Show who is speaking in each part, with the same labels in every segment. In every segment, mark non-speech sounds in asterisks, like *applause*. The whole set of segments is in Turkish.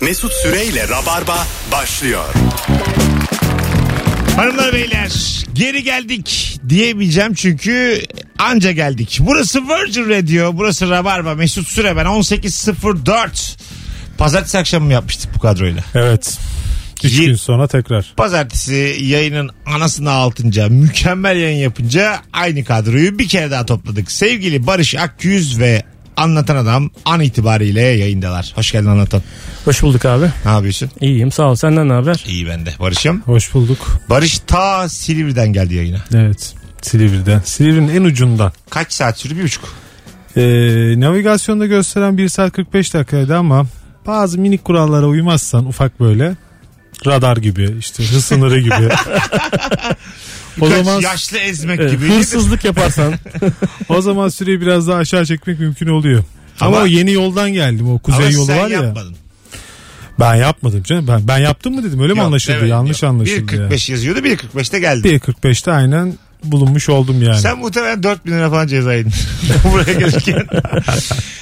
Speaker 1: Mesut Süreyle Rabarba başlıyor.
Speaker 2: Hanımlar beyler geri geldik diyemeyeceğim çünkü anca geldik. Burası Virgin Radio, burası Rabarba. Mesut Süre ben 18.04. Pazartesi akşamı mı yapmıştık bu kadroyla?
Speaker 3: Evet. Üç
Speaker 2: Ye-
Speaker 3: gün sonra tekrar.
Speaker 2: Pazartesi yayının anasını altınca mükemmel yayın yapınca aynı kadroyu bir kere daha topladık. Sevgili Barış Akgüz ve Anlatan Adam an itibariyle yayındalar. Hoş geldin Anlatan.
Speaker 4: Hoş bulduk abi.
Speaker 2: Ne yapıyorsun?
Speaker 4: İyiyim sağ ol. Senden ne haber?
Speaker 2: İyi ben de Barış'ım.
Speaker 3: Hoş bulduk.
Speaker 2: Barış ta Silivri'den geldi yayına.
Speaker 3: Evet. Silivri'den. Silivri'nin en ucundan.
Speaker 2: Kaç saat sürdü? Bir buçuk.
Speaker 3: Ee, navigasyonda gösteren 1 saat 45 dakikaydı ama bazı minik kurallara uymazsan ufak böyle radar gibi işte hız
Speaker 2: *laughs*
Speaker 3: sınırı gibi. o
Speaker 2: Kaç
Speaker 3: zaman e,
Speaker 2: yaşlı ezmek
Speaker 4: Ee,
Speaker 2: gibi.
Speaker 4: hırsızlık yaparsan
Speaker 3: *laughs* o zaman süreyi biraz daha aşağı çekmek mümkün oluyor. Ama,
Speaker 2: Ama-
Speaker 3: o yeni yoldan geldim. O
Speaker 2: Ama
Speaker 3: kuzey yolu
Speaker 2: sen
Speaker 3: var ya.
Speaker 2: yapmadın.
Speaker 3: Ben yapmadım canım. Ben, ben yaptım mı dedim. Öyle mi
Speaker 2: Yok,
Speaker 3: anlaşıldı?
Speaker 2: evet,
Speaker 3: Yanlış
Speaker 2: yok.
Speaker 3: anlaşıldı. ya.
Speaker 2: 1.45 yazıyordu 1.45'te geldi.
Speaker 3: 1.45'te aynen bulunmuş oldum yani.
Speaker 2: Sen muhtemelen 4000 lira falan ceza yedin. *laughs* Buraya
Speaker 3: *laughs*
Speaker 2: gelirken.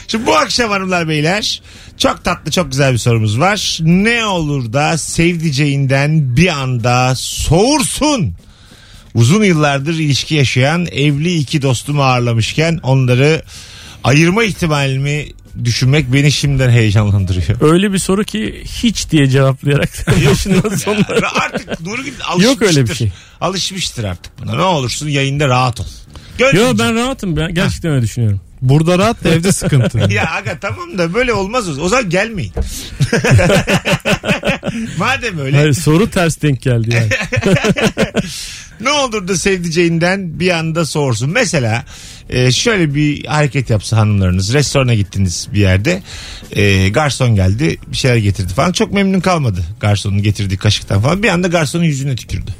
Speaker 2: Şimdi bu akşam hanımlar beyler çok tatlı çok güzel bir sorumuz var. Ne olur da sevdiceğinden bir anda soğursun. Uzun yıllardır ilişki yaşayan evli iki dostumu ağırlamışken onları ayırma ihtimalimi düşünmek beni şimdiden heyecanlandırıyor.
Speaker 4: öyle bir soru ki hiç diye cevaplayarak *laughs* başından sonuna.
Speaker 2: Ya artık Nurgül alışmıştır.
Speaker 4: Yok öyle bir şey.
Speaker 2: Alışmıştır artık buna. Ne olursun yayında rahat ol. Gönlünce.
Speaker 4: Yo ben rahatım ben gerçekten öyle düşünüyorum.
Speaker 3: Burada rahat da evde sıkıntı.
Speaker 2: *laughs* Ya aga tamam da böyle olmaz o zaman. O zaman
Speaker 4: *laughs*
Speaker 2: gelmeyin. Madem öyle
Speaker 4: Hayır soru ters denk geldi yani.
Speaker 2: ne olur da sevdiceğinden bir anda soğursun. Mesela e, şöyle bir hareket yapsa hanımlarınız. Restorana gittiniz bir yerde. E, garson geldi bir şeyler getirdi falan. Çok memnun kalmadı garsonun getirdiği kaşıktan falan. Bir anda garsonun yüzüne
Speaker 4: *laughs*
Speaker 2: tükürdü.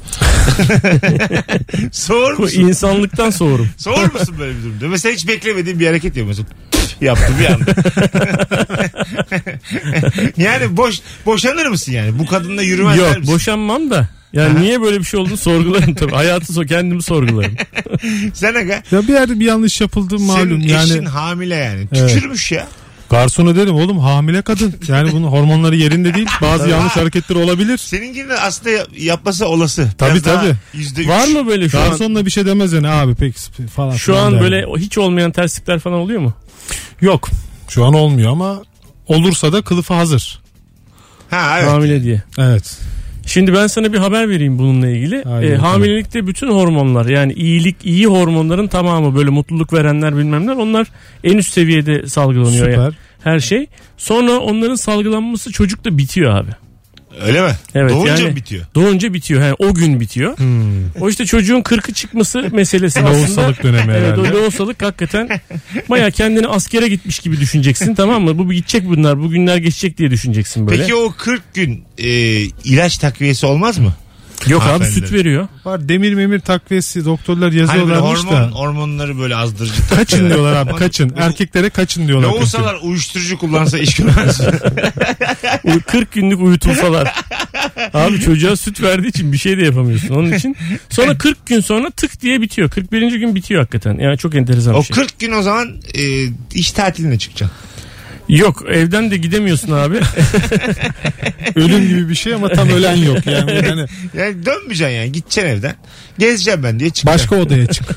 Speaker 2: *laughs* Soğur
Speaker 4: Bu
Speaker 2: musun?
Speaker 4: insanlıktan soğurum.
Speaker 2: Soğur musun böyle bir durumda? Mesela hiç beklemediğin bir hareket yapıyor. Mesela püf yaptı bir anda. *laughs* yani boş boşanır mısın yani? Bu kadınla yürümez der
Speaker 4: Yok
Speaker 2: misin?
Speaker 4: boşanmam da. Yani niye böyle bir şey olduğunu sorgularım tabii. Hayatı so kendimi sorgularım.
Speaker 2: Sen aga
Speaker 3: Ya bir yerde bir yanlış yapıldı malum
Speaker 2: senin
Speaker 3: yani.
Speaker 2: eşin hamile yani.
Speaker 3: Evet.
Speaker 2: Tükürmüş ya.
Speaker 3: Garsona dedim oğlum hamile kadın. Yani bunun hormonları
Speaker 2: *laughs*
Speaker 3: yerinde değil. Bazı yanlış hareketler olabilir.
Speaker 2: Senin gibi de aslında yap- yapması olası.
Speaker 3: Tabii,
Speaker 2: Biraz daha
Speaker 3: tabii.
Speaker 2: Yüzde
Speaker 4: Var
Speaker 2: üç.
Speaker 4: mı böyle şu an?
Speaker 3: Garsonla bir şey demez yani abi pek sp- falan.
Speaker 4: Şu
Speaker 3: filan
Speaker 4: an
Speaker 3: der.
Speaker 4: böyle hiç olmayan terslikler falan oluyor mu?
Speaker 3: yok. Şu an olmuyor ama olursa da kılıfı hazır.
Speaker 2: Ha evet.
Speaker 4: Hamile diye.
Speaker 3: Evet.
Speaker 4: Şimdi ben sana bir haber vereyim bununla ilgili.
Speaker 3: Haydi
Speaker 4: Ee,
Speaker 3: bakalım.
Speaker 4: hamilelikte bütün hormonlar yani iyilik iyi hormonların tamamı böyle mutluluk verenler bilmemler onlar en üst seviyede salgılanıyor
Speaker 3: Süper.
Speaker 4: yani her şey. Sonra onların salgılanması çocukta bitiyor abi.
Speaker 2: Öyle mi?
Speaker 4: Evet,
Speaker 2: Doğunca
Speaker 4: yani-
Speaker 2: mı bitiyor?
Speaker 4: Doğunca bitiyor. Yani o gün bitiyor.
Speaker 3: Hmm.
Speaker 4: O işte çocuğun kırkı çıkması meselesi aslında.
Speaker 2: *laughs*
Speaker 3: Loğusalık dönemi
Speaker 4: Evet o
Speaker 3: herhalde.
Speaker 4: loğusalık hakikaten baya kendini askere gitmiş gibi düşüneceksin tamam mı? Bu gidecek bunlar bu günler geçecek diye düşüneceksin böyle.
Speaker 2: Peki o 40 gün e, ilaç takviyesi olmaz mı?
Speaker 4: Yok abi süt
Speaker 2: Hanımefendi.
Speaker 4: veriyor.
Speaker 3: Var demir memir takviyesi doktorlar
Speaker 2: Hani böyle
Speaker 3: yazıyorlarmış
Speaker 2: hormon,
Speaker 3: da.
Speaker 2: hormonları böyle azdırıcı. *laughs*
Speaker 3: Kaçın
Speaker 2: takviyeler.
Speaker 3: diyorlar abi kaçın. Erkeklere kaçın diyorlar.
Speaker 2: Ne
Speaker 3: kaçın.
Speaker 2: olsalar uyuşturucu kullansa iş görmez.
Speaker 4: Uy- 40 günlük uyutulsalar. Abi çocuğa süt verdiği için bir şey de yapamıyorsun onun için. Sonra 40 gün sonra tık diye bitiyor. 41. gün bitiyor hakikaten. Yani çok enteresan
Speaker 2: o
Speaker 4: bir şey.
Speaker 2: 40 gün o zaman e, iş tatiline çıkacaksın.
Speaker 4: Yok evden de gidemiyorsun abi.
Speaker 3: Ölüm gibi bir şey ama tam ölen yok. Yani,
Speaker 4: *laughs*
Speaker 3: Hani yani
Speaker 2: Yani dönmeyeceksin yani. Gideceksin evden. Gezeceğim ben diye çıkacaksın.
Speaker 3: başka odaya çık.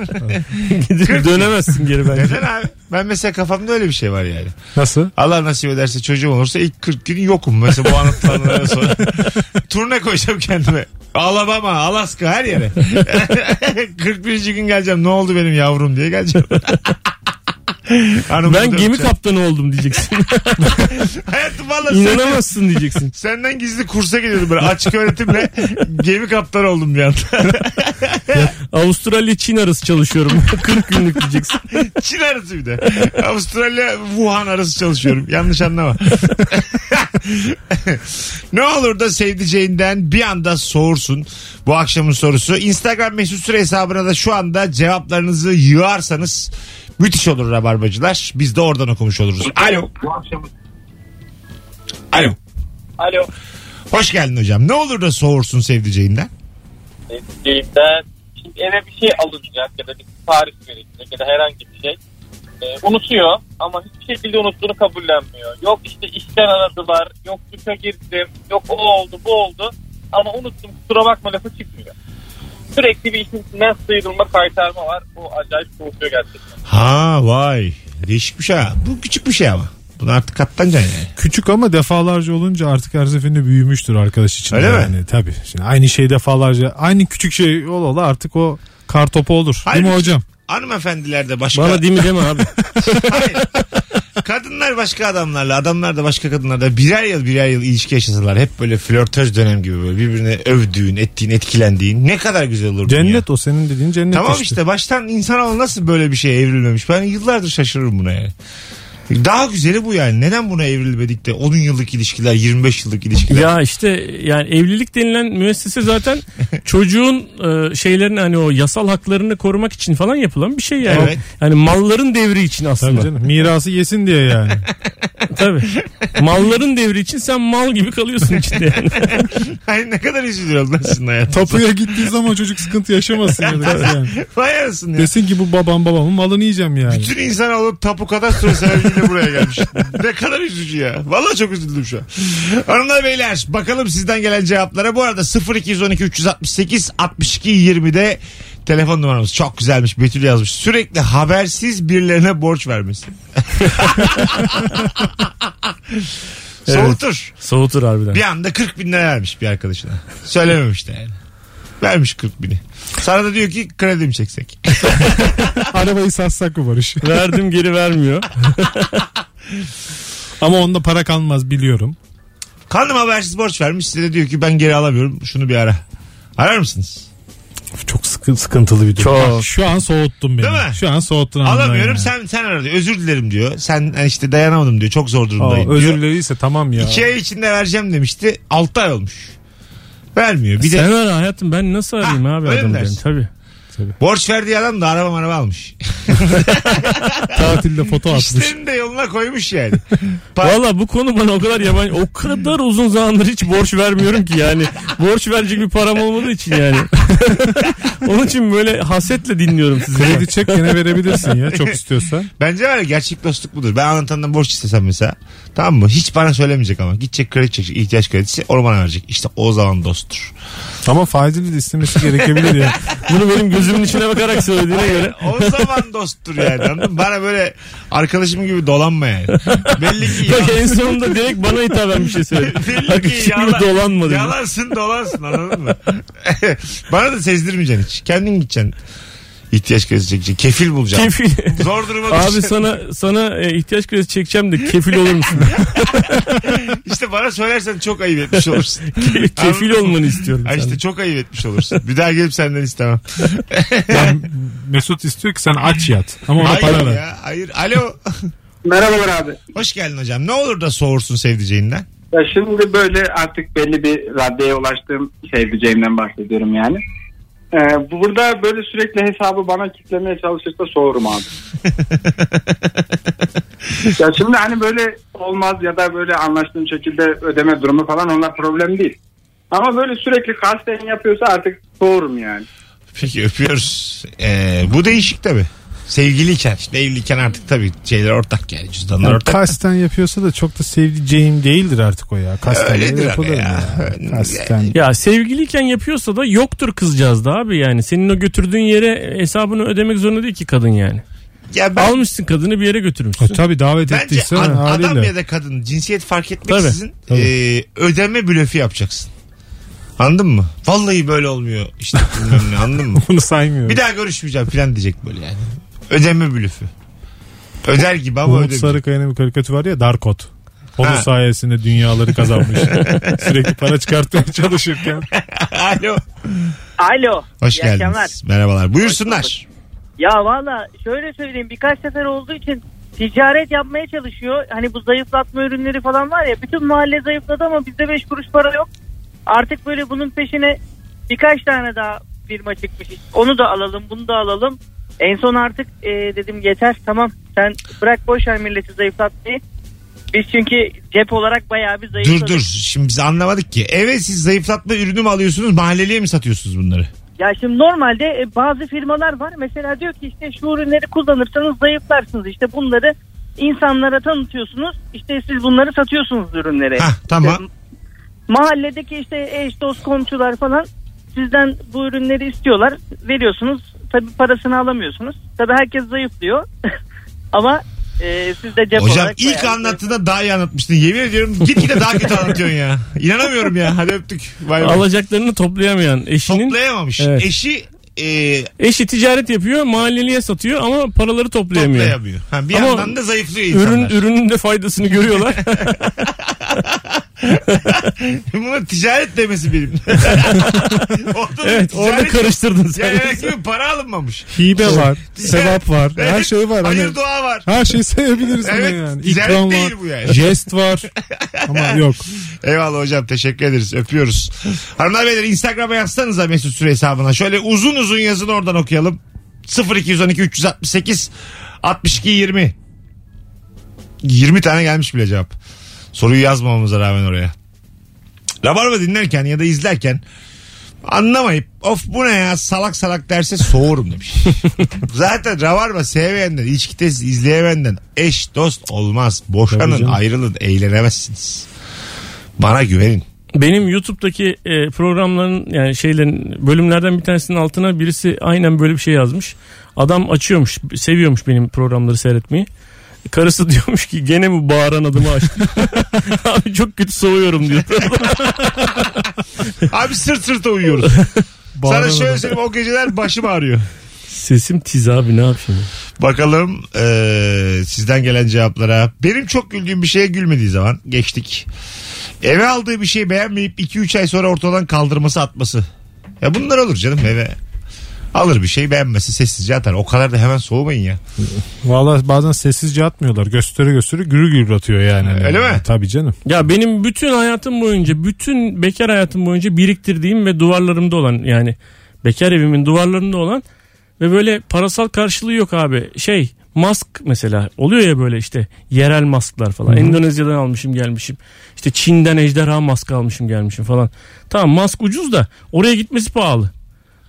Speaker 4: Gidip dönemezsin geri bence.
Speaker 2: Neden abi? Ben mesela kafamda öyle bir şey var yani.
Speaker 3: Nasıl?
Speaker 2: Allah nasip ederse çocuğum olursa ilk 40 gün yokum. Mesela bu anlatılanlardan
Speaker 4: *laughs*
Speaker 2: sonra. Turne koyacağım kendime. Alabama, Alaska her yere. *laughs* 41. gün geleceğim. Ne oldu benim yavrum diye
Speaker 4: *laughs*
Speaker 2: geleceğim. Hanımı
Speaker 4: Ben gemi
Speaker 2: döveceğim.
Speaker 4: kaptanı oldum diyeceksin.
Speaker 2: Hayatım valla senden,
Speaker 4: İnanamazsın diyeceksin.
Speaker 2: senden gizli kursa gidiyordum böyle açık öğretimle gemi kaptanı oldum bir anda.
Speaker 4: Avustralya Çin arası çalışıyorum. *laughs* 40 günlük diyeceksin.
Speaker 2: Çin arası bir de. *laughs* Avustralya Wuhan arası çalışıyorum. Yanlış anlama. *laughs* ne olur da sevdiceğinden bir anda soğursun bu akşamın sorusu. Instagram mesut süre hesabına da şu anda cevaplarınızı yığarsanız müthiş olur rabarbacılar. Biz de oradan okumuş oluruz. Alo. Alo.
Speaker 5: Alo.
Speaker 2: Hoş geldin hocam. Ne olur da soğursun sevdiceğinden.
Speaker 5: Eskiğimden şimdi eve bir şey alınacak ya da bir tarif verilecek ya da herhangi bir şey. E, unutuyor ama hiçbir şekilde unuttuğunu kabullenmiyor. Yok işte işten aradılar, yok duşa girdim, yok o oldu bu oldu ama unuttum kusura bakma lafı çıkmıyor. Sürekli bir işin içinden sıyrılma kaytarma var. Bu acayip soğutuyor gerçekten.
Speaker 2: Ha vay. Değişik bir şey ha. Bu küçük bir şey ama. Bunu artık katlanacaksın yani.
Speaker 3: Küçük ama defalarca olunca artık her seferinde büyümüştür arkadaş için.
Speaker 2: Öyle mi?
Speaker 3: yani. Tabii. Şimdi aynı şey defalarca aynı küçük şey ol ola artık o kar topu olur.
Speaker 2: Hayır.
Speaker 3: Değil mi hocam?
Speaker 2: Hanımefendiler de başka...
Speaker 4: Bana dimi deme abi.
Speaker 2: Hayır. Kadınlar başka adamlarla, adamlar da başka kadınlarla birer yıl birer yıl ilişki yaşasalar hep böyle flörtöz dönem gibi böyle birbirine övdüğün, ettiğin, etkilendiğin ne kadar güzel olur. dünya.
Speaker 3: *laughs* Cennet o senin dediğin cennet
Speaker 2: Tamam işte baştan insanoğlu nasıl böyle bir şeye evrilmemiş? Ben yıllardır şaşırırım buna yani. Daha güzeli bu yani. Neden buna evrilmedik de 10 yıllık ilişkiler, 25 yıllık ilişkiler.
Speaker 4: Ya işte yani evlilik denilen müessese zaten çocuğun e, şeylerini hani o yasal haklarını korumak için falan yapılan bir şey yani.
Speaker 2: Evet.
Speaker 4: Yani malların devri için
Speaker 3: Tabii
Speaker 4: aslında. Tabii,
Speaker 3: canım. Mirası yesin diye *laughs* yani.
Speaker 4: Malların devri için sen mal gibi kalıyorsun içinde yani.
Speaker 2: *laughs* Ay ne kadar üzülüyorum lan sizin hayatınıza.
Speaker 3: Tapuya gittiği zaman çocuk sıkıntı yaşamasın. ya da kız yani.
Speaker 2: *laughs* Vay arasın ya.
Speaker 3: Desin ki bu babam babamın malını yiyeceğim yani. *laughs*
Speaker 2: Bütün insanoğlu tapu kadastro sebebiyle buraya gelmiş. ne kadar üzücü ya. Vallahi çok üzüldüm şu an. Hanımlar beyler bakalım sizden gelen cevaplara. Bu arada 0212 368 62 20'de telefon numaramız. Çok güzelmiş Betül yazmış. Sürekli habersiz birilerine borç vermesi. *laughs* Soğutur.
Speaker 4: Soğutur harbiden.
Speaker 2: Bir anda 40 bin lira vermiş bir arkadaşına. Söylememiş de yani. Vermiş 40 bini. Sana da diyor ki kredi mi çeksek?
Speaker 3: Arabayı satsak mı Barış?
Speaker 4: Verdim geri vermiyor.
Speaker 3: Ama onda para kalmaz biliyorum.
Speaker 2: Kanım habersiz borç vermiş. Size de diyor ki ben geri alamıyorum. Şunu bir ara. Arar mısınız?
Speaker 3: Çok sıkı, sıkıntılı bir durum.
Speaker 4: Çok.
Speaker 3: Bak, Şu an soğuttun beni.
Speaker 2: Oh. Değil mi?
Speaker 3: Şu an soğuttun. harbiden
Speaker 2: Alamıyorum.
Speaker 3: yani.
Speaker 2: Sen sen ara diyor. Özür dilerim diyor. Sen hani işte dayanamadım diyor. Çok zor
Speaker 3: Aa,
Speaker 2: durumdayım.
Speaker 3: özür dileriyse tamam ya.
Speaker 2: İki ay içinde vereceğim demişti. 6 ay olmuş. Vermiyor. Bir
Speaker 4: Sen
Speaker 2: de
Speaker 4: ara hayatım ben nasıl arayayım
Speaker 2: Ha,
Speaker 4: abi
Speaker 2: öyle mi
Speaker 4: adamı
Speaker 2: dersin?
Speaker 4: ben tabii.
Speaker 2: borç verdiği adam da araba araba almış. *laughs*
Speaker 3: Tatilde foto atmış.
Speaker 2: İşlerini de yoluna koymuş yani. *laughs* Pa-
Speaker 4: Valla bu konu bana o kadar yabancı. O kadar uzun zamandır hiç borç vermiyorum ki yani. Borç verecek bir param olmadığı için yani. *laughs* Onun için böyle hasetle dinliyorum sizi.
Speaker 3: Kredi çek gene verebilirsin ya çok istiyorsan.
Speaker 2: Bence var ya gerçek dostluk budur. Ben anlatandan borç istesem mesela. Tamam mı? Hiç bana söylemeyecek ama. Gidecek kredi çekecek. ihtiyaç kredisi. Onu bana verecek. İşte o zaman dosttur.
Speaker 3: Ama faizli de istemesi gerekebilir ya.
Speaker 4: Bunu benim gözümün içine bakarak söylediğine göre.
Speaker 2: O zaman dosttur yani anladın mı? Bana böyle arkadaşım gibi dolanma yani. Belli ki
Speaker 4: Bak
Speaker 2: yalan-
Speaker 4: en sonunda direkt bana hitaben bir şey söyledi. *laughs*
Speaker 2: Belli
Speaker 4: Bak
Speaker 2: ki
Speaker 4: hiç
Speaker 2: yalan,
Speaker 4: gibi dolanma dedi.
Speaker 2: yalansın dolansın anladın mı? *laughs* Bana da sezdirmeyeceksin hiç. Kendin gideceksin. İhtiyaç kredisi çekeceksin. Kefil bulacaksın.
Speaker 4: Kefil.
Speaker 2: Zor duruma
Speaker 4: Abi
Speaker 2: düşeceksin.
Speaker 4: sana sana e, ihtiyaç kredisi çekeceğim de kefil
Speaker 2: *laughs*
Speaker 4: olur musun?
Speaker 2: İşte bana söylersen çok ayıp etmiş
Speaker 4: *laughs*
Speaker 2: olursun.
Speaker 4: kefil olmanı istiyorum.
Speaker 2: Ha işte
Speaker 4: senden.
Speaker 2: çok ayıp etmiş olursun. Bir daha gelip senden istemem.
Speaker 3: Yani Mesut istiyor ki sen aç yat. Ama ona para
Speaker 2: Hayır
Speaker 3: ver.
Speaker 2: ya. Hayır. Alo. *laughs*
Speaker 6: Merhabalar abi.
Speaker 2: Hoş geldin hocam. Ne olur da soğursun sevdiceğinden.
Speaker 6: Ya şimdi böyle artık belli bir raddeye ulaştığım sevdiceğimden bahsediyorum yani. Ee, burada böyle sürekli hesabı bana kitlemeye çalışırsa soğurum abi. ya şimdi hani böyle olmaz ya da böyle anlaştığım şekilde ödeme durumu falan onlar problem değil. Ama böyle sürekli kasten yapıyorsa artık soğurum yani.
Speaker 2: Peki öpüyoruz. Ee, bu değişik tabi. Sevgiliyken işte evliyken artık tabii şeyler ortak yani cüzdanlar
Speaker 3: Yani
Speaker 2: ortak.
Speaker 3: kasten yapıyorsa da çok da sevdiceğim değildir artık o ya. Kasten
Speaker 2: Öyledir
Speaker 3: de
Speaker 2: ama
Speaker 3: yapılır mı
Speaker 2: ya.
Speaker 3: ya. Kasten.
Speaker 4: Ya sevgiliyken yapıyorsa da yoktur kızcağız da abi yani. Senin o götürdüğün yere hesabını ödemek zorunda değil ki kadın yani.
Speaker 2: Ya ben,
Speaker 4: Almışsın kadını bir yere
Speaker 3: E,
Speaker 4: götürmüşsün.
Speaker 3: tabii davet
Speaker 2: bence
Speaker 3: ettiyse
Speaker 2: ad- adam
Speaker 3: haliyle.
Speaker 2: ya da kadın cinsiyet fark etmeksizin
Speaker 3: Tabii, tabii.
Speaker 2: e, ödeme blöfü yapacaksın. Anladın mı? Vallahi böyle olmuyor işte bilmem ne, anladın
Speaker 3: *laughs*
Speaker 2: mı?
Speaker 3: Bunu saymıyorum.
Speaker 2: Bir daha görüşmeyeceğim falan diyecek böyle yani. Ödeme blöfü. Öder gibi ama
Speaker 3: Umut
Speaker 2: ödemiyor.
Speaker 3: Sarıkaya'nın bir karikatürü var ya Darkot. Onun
Speaker 2: Ha.
Speaker 3: sayesinde
Speaker 2: *laughs*
Speaker 3: dünyaları kazanmış. Sürekli para çıkartmaya çalışırken.
Speaker 2: *laughs* Alo.
Speaker 7: Alo.
Speaker 2: Hoş
Speaker 7: iyi
Speaker 2: geldiniz.
Speaker 7: akşamlar.
Speaker 2: Merhabalar. Buyursunlar.
Speaker 7: Ya valla şöyle söyleyeyim birkaç sefer olduğu için ticaret yapmaya çalışıyor. Hani bu zayıflatma ürünleri falan var ya bütün mahalle zayıfladı ama bizde 5 kuruş para yok. Artık böyle bunun peşine birkaç tane daha firma çıkmış. Onu da alalım bunu da alalım. En son artık e, dedim yeter tamam sen bırak boş ver milleti zayıflatmayı. Biz çünkü cep olarak bayağı bir
Speaker 2: Dur
Speaker 7: zayıfladık.
Speaker 2: dur. Şimdi biz anlamadık ki. Evet siz zayıflatma ürünü mü alıyorsunuz? Mahalleliye mi satıyorsunuz bunları?
Speaker 7: Ya şimdi normalde e, bazı firmalar var. Mesela diyor ki işte şu ürünleri kullanırsanız zayıflarsınız. İşte bunları insanlara tanıtıyorsunuz. İşte siz bunları satıyorsunuz ürünlere.
Speaker 2: Hah, tamam.
Speaker 7: İşte mahalledeki işte eş dost komşular falan sizden bu ürünleri istiyorlar. Veriyorsunuz. Tabii parasını alamıyorsunuz. Tabii herkes zayıflıyor. *laughs* Ama e, siz de cep
Speaker 2: Hocam
Speaker 7: olarak
Speaker 2: ilk
Speaker 7: bayağı-
Speaker 2: anlattığında daha iyi anlatmıştın. Yemin ediyorum gitgide daha kötü anlatıyorsun ya. İnanamıyorum ya. Hadi öptük. Bay bay.
Speaker 4: Alacaklarını toplayamayan eşinin
Speaker 2: Toplayamamış.
Speaker 4: Evet.
Speaker 2: Eşi e,
Speaker 4: eşi ticaret yapıyor mahalleliye satıyor ama paraları toplayamıyor.
Speaker 2: toplayamıyor. Ha, bir
Speaker 4: Ama
Speaker 2: yandan da zayıflıyor
Speaker 4: Ürün,
Speaker 2: insanlar.
Speaker 4: ürünün de faydasını görüyorlar.
Speaker 2: *laughs* Buna ticaret demesi
Speaker 4: *laughs*
Speaker 2: benim. orada
Speaker 4: evet orada karıştırdın sen.
Speaker 2: Yani demek ki para alınmamış.
Speaker 3: Hibe var, sevap var, her
Speaker 2: Şey- Evet,
Speaker 3: şey var. Hani
Speaker 2: Hayır dua var.
Speaker 3: her şeyi sayabiliriz ona
Speaker 2: Evet,
Speaker 3: yani.
Speaker 2: ticaret
Speaker 3: İkram
Speaker 2: değil bu
Speaker 3: var,
Speaker 2: yani.
Speaker 3: jest var ama yok.
Speaker 2: Eyvallah hocam teşekkür ederiz. Öpüyoruz. *laughs* Hanımlar beyler Instagram'a yazsanıza Mesut Süre hesabına. Şöyle uzun uzun yazın oradan okuyalım. 0212 368 62 20. 20 tane gelmiş bile cevap. Soruyu yazmamamıza rağmen oraya. Rabarba dinlerken ya da izlerken anlamayıp of bu ne ya salak salak derse soğurum demiş. *laughs* Zaten Rabarba sevmeyenden, içkitesi izleyemenden eş dost olmaz. Boşanın, ayrılın, eğlenemezsiniz. Bana güvenin.
Speaker 4: Benim YouTube'daki e, programların yani şeylerin bölümlerden bir tanesinin altına birisi aynen böyle bir şey yazmış. Adam açıyormuş, seviyormuş benim programları seyretmeyi. Karısı *laughs* diyormuş ki gene bu bağıran adımı açtı. *laughs* Abi çok kötü
Speaker 2: *laughs*
Speaker 4: soğuyorum diyor.
Speaker 2: Abi sırt sırta uyuyoruz.
Speaker 4: *laughs*
Speaker 2: Sana şöyle söyleyeyim o geceler başım ağrıyor.
Speaker 4: Sesim tiz abi ne yapayım?
Speaker 2: Bakalım eee, sizden gelen cevaplara. Benim çok güldüğüm bir şeye gülmediği zaman geçtik. Eve aldığı bir şeyi beğenmeyip 2-3 ay sonra ortadan kaldırması atması. Ya bunlar olur canım eve. Alır bir şey beğenmesi sessizce atar. O kadar da hemen soğumayın ya.
Speaker 3: Valla bazen sessizce atmıyorlar. Gösteri gösteri gürü gürü atıyor yani. E,
Speaker 2: Öyle mi?
Speaker 3: Tabii canım.
Speaker 4: Ya benim bütün hayatım boyunca, bütün bekar hayatım boyunca biriktirdiğim ve duvarlarımda olan yani bekar evimin duvarlarında olan ve böyle parasal karşılığı yok abi. Şey mask mesela oluyor ya böyle işte yerel masklar falan. Endonezya'dan almışım gelmişim. İşte Çin'den ejderha maskı almışım gelmişim falan. Tamam mask ucuz da oraya gitmesi pahalı.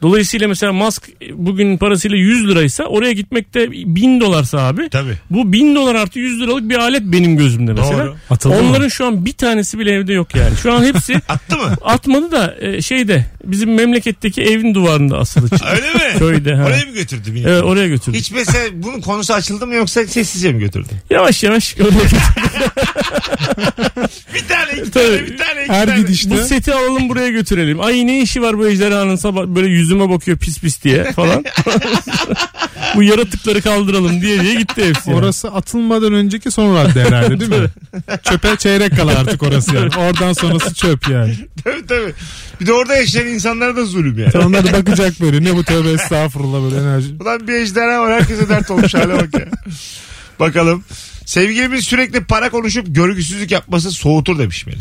Speaker 4: Dolayısıyla mesela mask bugün parasıyla 100 liraysa oraya gitmekte 1000 dolarsa abi.
Speaker 2: Tabii.
Speaker 4: Bu 1000 dolar artı 100 liralık bir alet benim gözümde mesela.
Speaker 2: Doğru.
Speaker 3: Atıldı mı?
Speaker 4: Onların şu an bir tanesi bile evde yok yani. Şu an hepsi
Speaker 2: *laughs* Attı mı?
Speaker 4: atmadı da e, şeyde bizim memleketteki evin duvarında asılı.
Speaker 2: Öyle mi?
Speaker 4: *laughs* Köyde, ha.
Speaker 2: Oraya mı götürdü? beni?
Speaker 4: Evet oraya götürdük.
Speaker 2: Hiç mesela bunun konusu açıldı mı yoksa sessizce mi götürdü?
Speaker 4: Yavaş yavaş oraya götürdük.
Speaker 2: Bir tane iki tane
Speaker 4: Tabii.
Speaker 2: bir tane iki
Speaker 3: Her
Speaker 2: tane.
Speaker 4: Bu
Speaker 3: gidişte
Speaker 4: seti alalım buraya götürelim. Ay ne işi var bu ejderhanın sabah böyle yüzüme bakıyor pis pis diye falan.
Speaker 2: *laughs*
Speaker 4: bu yaratıkları kaldıralım diye diye gitti hepsi. yani.
Speaker 3: orası atılmadan önceki son radde herhalde değil *laughs* mi? Çöpe çeyrek kala artık orası yani. Oradan sonrası çöp yani.
Speaker 2: Tabii tabii. Bir de orada yaşayan insanlara da zulüm yani.
Speaker 3: Onlar da bakacak böyle ne bu tövbe estağfurullah böyle enerji.
Speaker 2: Ulan bir ejderha var herkese dert olmuş hale bak ya. Bakalım. Sevgilimin sürekli para konuşup görgüsüzlük yapması soğutur demiş beni.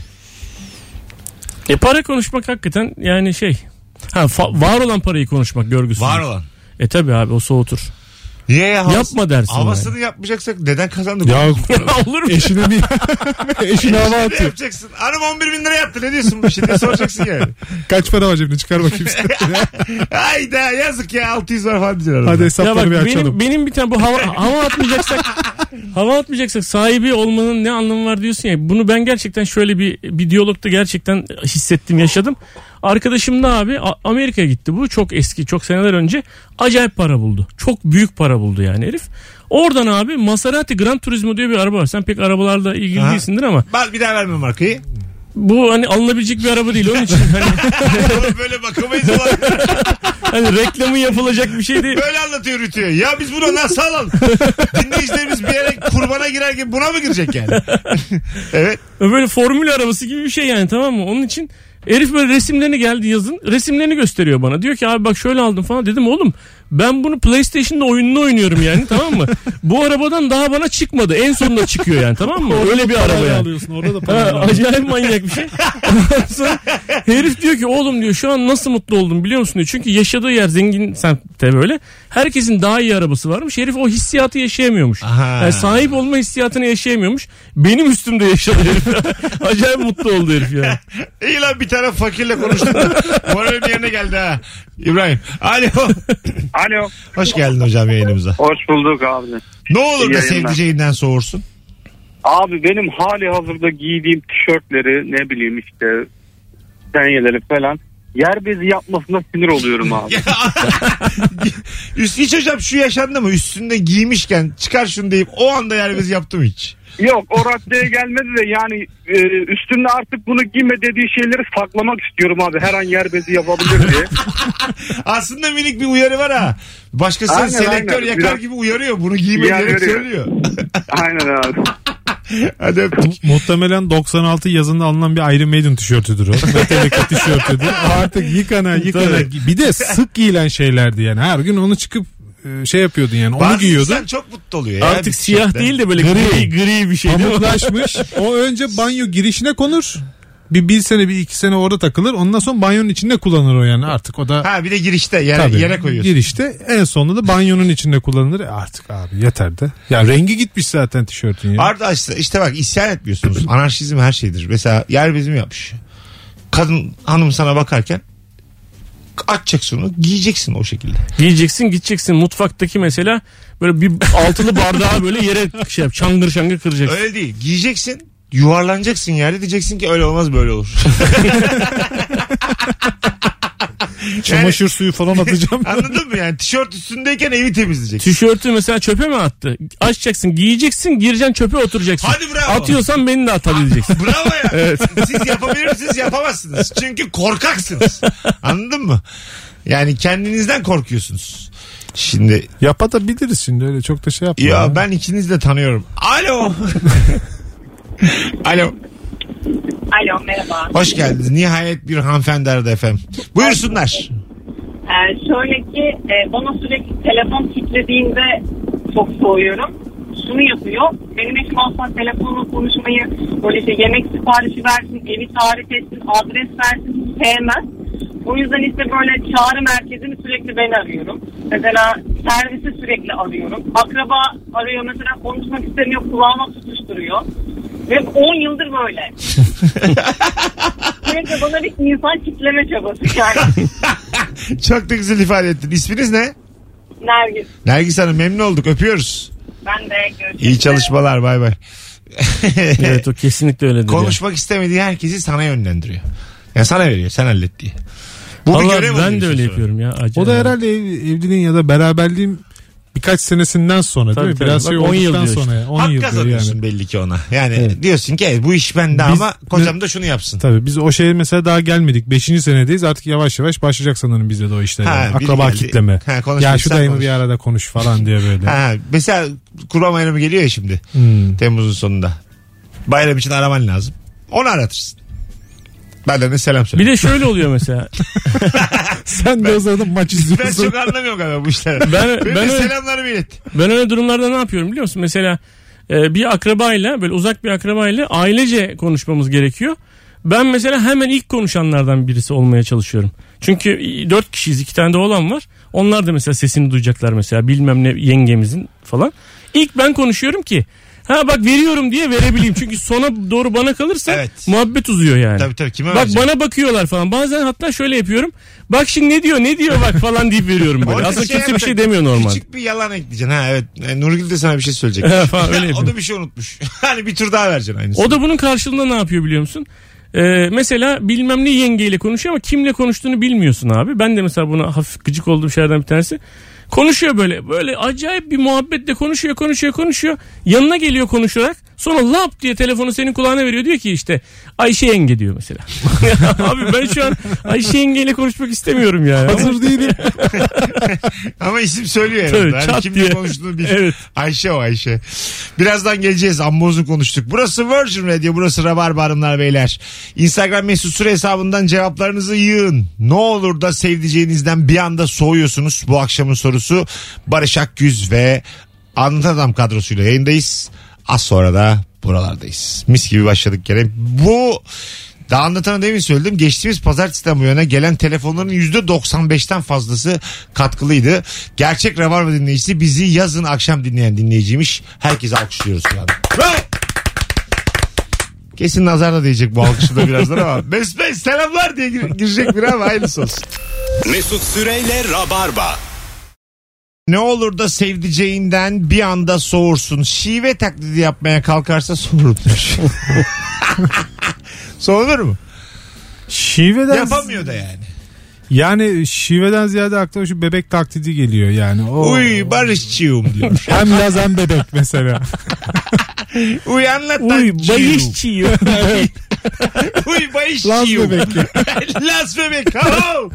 Speaker 4: E para konuşmak hakikaten yani şey. Ha, fa- var olan parayı konuşmak görgüsü.
Speaker 2: olan.
Speaker 4: E tabi abi
Speaker 2: *laughs*
Speaker 4: o soğutur. *laughs*
Speaker 2: Niye ya? Havas-
Speaker 4: Yapma dersin
Speaker 2: Havasını yapmayacaksak neden kazandık?
Speaker 3: Ya
Speaker 4: Olur
Speaker 2: E,
Speaker 4: mu?
Speaker 3: eşine bir *laughs* eşine hava
Speaker 2: Ne
Speaker 3: atıyor.
Speaker 2: yapacaksın? Hanım 11 bin lira yaptı ne diyorsun bu işe diye soracaksın yani.
Speaker 3: Kaç para var cebine çıkar bakayım sen.
Speaker 2: Hayda yazık ya 600 var falan diyorlar.
Speaker 3: Hadi
Speaker 2: Hadi.
Speaker 4: Ya
Speaker 3: hesapları
Speaker 4: bak
Speaker 3: bir
Speaker 4: benim,
Speaker 3: açalım.
Speaker 4: benim bir tane
Speaker 3: *laughs*
Speaker 4: bu hava, hava atmayacaksak hava atmayacaksak sahibi olmanın ne anlamı var diyorsun ya. Bunu ben gerçekten şöyle bir, bir diyalogda gerçekten hissettim yaşadım. Arkadaşım da abi A- Amerika'ya gitti bu çok eski çok seneler önce acayip para buldu. Çok büyük para buldu yani herif. Oradan abi Maserati Gran Turismo diye bir araba var. Sen pek arabalarla ilgili
Speaker 2: Ha.
Speaker 4: değilsindir ama
Speaker 2: Ben bir daha vermem markayı.
Speaker 4: bu hani alınabilecek bir araba değil onun
Speaker 3: *laughs*
Speaker 4: için. Hani,
Speaker 2: Oğlum böyle bakamayız ulan.
Speaker 4: hani reklamı yapılacak bir şey değil.
Speaker 2: Böyle anlatıyor Rütü'ye. Ya biz buna nasıl alalım? Dinleyicilerimiz bir yere kurbana girer gibi buna mı girecek yani? *laughs* evet.
Speaker 4: Böyle formül arabası gibi bir şey yani tamam mı? Onun için herif böyle resimlerini geldi yazın. Resimlerini gösteriyor bana. Diyor ki abi bak şöyle aldım falan. Dedim oğlum Ben bunu PlayStation'da oyununu oynuyorum yani tamam mı? Bu arabadan daha bana çıkmadı. En sonunda çıkıyor yani tamam
Speaker 3: *laughs*
Speaker 4: mı? Öyle bir araba
Speaker 3: Parayı
Speaker 4: yani.
Speaker 3: alıyorsun orada da parayı
Speaker 4: Ha,
Speaker 3: alıyorsun.
Speaker 4: acayip manyak bir şey. Ondan Sonra herif diyor ki oğlum diyor şu an nasıl mutlu oldum biliyor musun diyor. Çünkü yaşadığı yer zengin semtte böyle. Herkesin daha iyi arabası varmış. Herif o hissiyatı yaşayamıyormuş.
Speaker 2: Aha.
Speaker 4: Yani sahip olma hissiyatını yaşayamıyormuş. Benim üstümde yaşadı herif. *laughs* acayip mutlu oldu herif yani.
Speaker 2: İyi lan bir tane fakirle konuştum. Moralin yerine geldi ha. İbrahim. Alo.
Speaker 6: Alo.
Speaker 2: Hoş geldin hocam yayınımıza.
Speaker 6: Hoş bulduk abi.
Speaker 2: Ne olur
Speaker 6: İyi
Speaker 2: da
Speaker 6: yayınlar.
Speaker 2: sevdiceğinden soğursun.
Speaker 6: Abi benim hali hazırda giydiğim tişörtleri ne bileyim işte senyeleri falan yer bezi yapmasına sinir oluyorum abi.
Speaker 2: Üst, hiç hocam şu yaşandı mı? Üstünde giymişken çıkar şunu deyip o anda yerbezi yaptım hiç.
Speaker 6: Yok o raddeye gelmedi de yani e, üstünde artık bunu giyme dediği şeyleri saklamak istiyorum abi. Her an yer bezi yapabilir diye.
Speaker 2: Aslında minik bir uyarı var ha. Başkasının
Speaker 6: Aynen,
Speaker 2: selektör
Speaker 6: aynen.
Speaker 2: yakar
Speaker 6: Biraz-
Speaker 2: gibi uyarıyor. Bunu giyme
Speaker 6: Yani
Speaker 2: gerek
Speaker 6: öyle.
Speaker 2: söylüyor.
Speaker 6: Aynen abi.
Speaker 2: Hadi öptük.
Speaker 3: *laughs* Muhtemelen 96 yazında alınan bir Iron Maiden tişörtüdür o. Metallica tişörtüdür. *laughs* Artık yıkana yıkana. Bir de sık giyilen şeylerdi yani. Her gün onu çıkıp e, şey yapıyordun yani. Onu
Speaker 2: Bazı
Speaker 3: *laughs* giyiyordun.
Speaker 2: insan çok mutlu oluyor. ya bir
Speaker 4: Artık siyah
Speaker 2: tişörtten.
Speaker 4: değil de böyle
Speaker 3: Gri.
Speaker 4: gri, gri bir şey. değil mi?
Speaker 3: Pamuklaşmış. o önce banyo girişine konur. Bir, bir sene bir iki sene orada takılır. Ondan sonra banyonun içinde kullanır o yani artık. O da
Speaker 2: Ha bir de girişte yere,
Speaker 3: Tabii.
Speaker 2: yere koyuyorsun.
Speaker 3: Girişte en sonunda da banyonun içinde kullanılır. E Artık abi yeter de. Ya rengi gitmiş zaten tişörtün ya.
Speaker 2: Arda işte, işte bak isyan etmiyorsunuz. Anarşizm her şeydir. Mesela yer bezimi yapmış. Kadın hanım sana bakarken açacaksın onu giyeceksin o şekilde.
Speaker 4: Giyeceksin gideceksin mutfaktaki mesela böyle bir altılı bardağı böyle yere şey yap, çangır çangır kıracaksın.
Speaker 2: Öyle değil giyeceksin yuvarlanacaksın yerde diyeceksin ki öyle olmaz böyle olur.
Speaker 3: *laughs* Çamaşır suyu falan *laughs* atacağım.
Speaker 2: Anladın mı yani tişört üstündeyken evi temizleyeceksin.
Speaker 4: Tişörtü mesela çöpe mi attı? Açacaksın, giyeceksin, gireceksin çöpe oturacaksın.
Speaker 2: Hadi bravo.
Speaker 4: Atıyorsan beni
Speaker 2: *laughs*
Speaker 4: de atabileceksin.
Speaker 2: Bravo
Speaker 4: *laughs*
Speaker 2: ya. Siz yapabilir misiniz yapamazsınız. Çünkü korkaksınız. Anladın mı? Yani kendinizden korkuyorsunuz. Şimdi
Speaker 3: Yapatabiliriz şimdi öyle çok da şey yapma.
Speaker 2: Ya
Speaker 3: ya.
Speaker 2: ben ikinizi de tanıyorum. Alo.
Speaker 4: *laughs*
Speaker 2: Alo.
Speaker 8: Alo merhaba.
Speaker 2: Hoş geldiniz. Nihayet bir hanımefendi aradı efendim. Buyursunlar.
Speaker 8: Ee, şöyle ki e, bana sürekli telefon titrediğinde çok soğuyorum. Şunu yapıyor. Benim eşim aslında telefonla konuşmayı böyle işte yemek siparişi versin, evi tarif etsin, adres versin sevmez. O yüzden işte böyle çağrı merkezini sürekli ben arıyorum. Mesela servisi sürekli arıyorum. Akraba arıyor mesela konuşmak istemiyor kulağıma tutuşturuyor. Ve 10 yıldır böyle. Sürekli bana bir insan kitleme çabası yani.
Speaker 2: Çok da güzel ifade ettin. İsminiz ne?
Speaker 8: Nergis.
Speaker 2: Nergis Hanım memnun olduk. Öpüyoruz.
Speaker 8: Ben de görüşürüz.
Speaker 2: İyi çalışmalar. Bay bay.
Speaker 4: evet o kesinlikle öyledir. ya.
Speaker 2: Konuşmak istemediği herkesi sana yönlendiriyor. Ya sana veriyor. Sen hallet diye. Bu bir
Speaker 4: Vallahi
Speaker 2: görev
Speaker 4: ben de
Speaker 2: oluyorsun sonra.
Speaker 4: öyle yapıyorum ya. Acayip.
Speaker 3: O da herhalde ev- evliliğin ya da beraberliğin birkaç senesinden sonra
Speaker 4: Tabii,
Speaker 3: değil mi?
Speaker 4: tabii.
Speaker 3: Biraz
Speaker 4: Bak,
Speaker 3: şey
Speaker 4: 10 yıl
Speaker 3: olduktan
Speaker 4: diyor
Speaker 3: sonra. ya, 10
Speaker 2: Hak
Speaker 3: yıl diyor
Speaker 2: kazanıyorsun
Speaker 3: yani.
Speaker 2: belli ki ona. Yani
Speaker 3: Evet.
Speaker 2: diyorsun ki "Evet, bu iş bende
Speaker 3: Biz-
Speaker 2: ama kocam da şunu yapsın.
Speaker 3: Tabii biz o şeye mesela daha gelmedik. Beşinci senedeyiz artık yavaş yavaş başlayacak sanırım bizde de o işler.
Speaker 2: Ha,
Speaker 3: yani.
Speaker 2: biri
Speaker 3: Akraba
Speaker 2: geldi.
Speaker 3: kitleme.
Speaker 2: Ha, konuşmayacaksan
Speaker 3: ya şu dayımı
Speaker 2: konuş.
Speaker 3: bir arada konuş falan diye
Speaker 2: *laughs*
Speaker 3: böyle.
Speaker 2: Ha, mesela kurban bayramı geliyor ya şimdi.
Speaker 3: Hmm.
Speaker 2: Temmuz'un sonunda. Bayram için araman lazım. Onu aratırsın. Benden de selam söyle.
Speaker 4: Bir de şöyle oluyor mesela.
Speaker 3: Sen de o zaman maç
Speaker 2: ben *laughs*
Speaker 3: izliyorsun.
Speaker 2: çok anlamıyorum galiba bu işlere.
Speaker 4: *laughs* Ben-
Speaker 2: Benim
Speaker 4: ben
Speaker 2: de
Speaker 4: öyle-
Speaker 2: selamlarımı ilet.
Speaker 4: Ben öyle durumlarda ne yapıyorum biliyor musun? Mesela e, bir akrabayla böyle uzak bir akrabayla ailece konuşmamız gerekiyor. Ben mesela hemen ilk konuşanlardan birisi olmaya çalışıyorum. Çünkü e, dört kişiyiz iki tane de olan var. Onlar da mesela sesini duyacaklar mesela bilmem ne yengemizin falan. İlk ben konuşuyorum ki ha bak veriyorum diye verebileyim. Çünkü sona doğru bana kalırsa
Speaker 2: Evet.
Speaker 4: muhabbet uzuyor yani.
Speaker 2: Tabii tabii kime
Speaker 4: Bak
Speaker 2: vereceğim?
Speaker 4: bana bakıyorlar falan. Bazen hatta şöyle yapıyorum. Bak şimdi ne diyor ne diyor bak falan deyip veriyorum böyle.
Speaker 2: Orada
Speaker 4: Aslında kimse bir
Speaker 2: yapacaksın.
Speaker 4: şey demiyor normalde.
Speaker 2: Küçük bir yalan ekleyeceksin. Ha evet. E, Nurgül de sana bir şey söyleyecek.
Speaker 4: *laughs* Ha, falan öyle
Speaker 2: *laughs* o da
Speaker 4: yapıyorum.
Speaker 2: bir şey unutmuş. hani bir tur daha vereceksin aynısını.
Speaker 4: O da bunun karşılığında ne yapıyor biliyor musun? Ee, mesela bilmem ne yengeyle konuşuyor ama kimle konuştuğunu bilmiyorsun abi. Ben de mesela buna hafif gıcık olduğum şeylerden bir tanesi. Konuşuyor böyle böyle acayip bir muhabbetle konuşuyor konuşuyor konuşuyor. Yanına geliyor konuşarak. Sonra lap diye telefonu senin kulağına veriyor. Diyor ki işte Ayşe yenge diyor mesela. *laughs* Abi ben şu an Ayşe yengeyle konuşmak istemiyorum yani.
Speaker 3: Hazır
Speaker 4: *laughs*
Speaker 3: değilim.
Speaker 2: Ama isim söylüyor
Speaker 4: Tabii,
Speaker 2: herhalde. Hani
Speaker 4: çat
Speaker 2: kimle
Speaker 4: diye.
Speaker 2: konuştuğunu bil.
Speaker 4: Evet.
Speaker 2: Ayşe o Ayşe. Birazdan geleceğiz. Amma uzun konuştuk. Burası Virgin Radio. Burası Rabarba Hanımlar Beyler. Instagram mesut süre hesabından cevaplarınızı yığın. Ne olur da sevdiceğinizden bir anda soğuyorsunuz. Bu akşamın sorusu Barış Akgüz ve Anlatan Adam kadrosuyla yayındayız. Az sonra da buralardayız. Mis gibi başladık gene. Bu daha anlatana demin söyledim. Geçtiğimiz pazartesiden bu yana gelen telefonların %95'ten fazlası katkılıydı. Gerçek Rabarba dinleyicisi bizi yazın akşam dinleyen dinleyiciymiş. Herkese alkışlıyoruz şu anda. Bravo! Kesin nazar da diyecek bu alkışında birazdan ama. *laughs* Mesut Bey selamlar diye gir- girecek bir ama hayırlısı olsun.
Speaker 1: Mesut Süreyle Rabarba.
Speaker 2: Ne olur da sevdiceğinden bir anda soğursun. Şive taklidi yapmaya kalkarsa soğurmuş. Soğulur mu?
Speaker 3: Şiveden
Speaker 2: Yapamıyor da yani.
Speaker 3: yani şiveden ziyade aklıma şu bebek taklidi geliyor yani. O,
Speaker 2: Uy barışçıyım diyor.
Speaker 3: Hem laz hem bebek
Speaker 2: *laughs*
Speaker 3: mesela.
Speaker 2: Uy anlat
Speaker 4: Uy
Speaker 2: Uy
Speaker 4: bayış çiğiyor.
Speaker 2: Uy
Speaker 3: Laz
Speaker 2: barışçıyım.
Speaker 3: bebek.
Speaker 2: *laughs* Las bebek. Hello.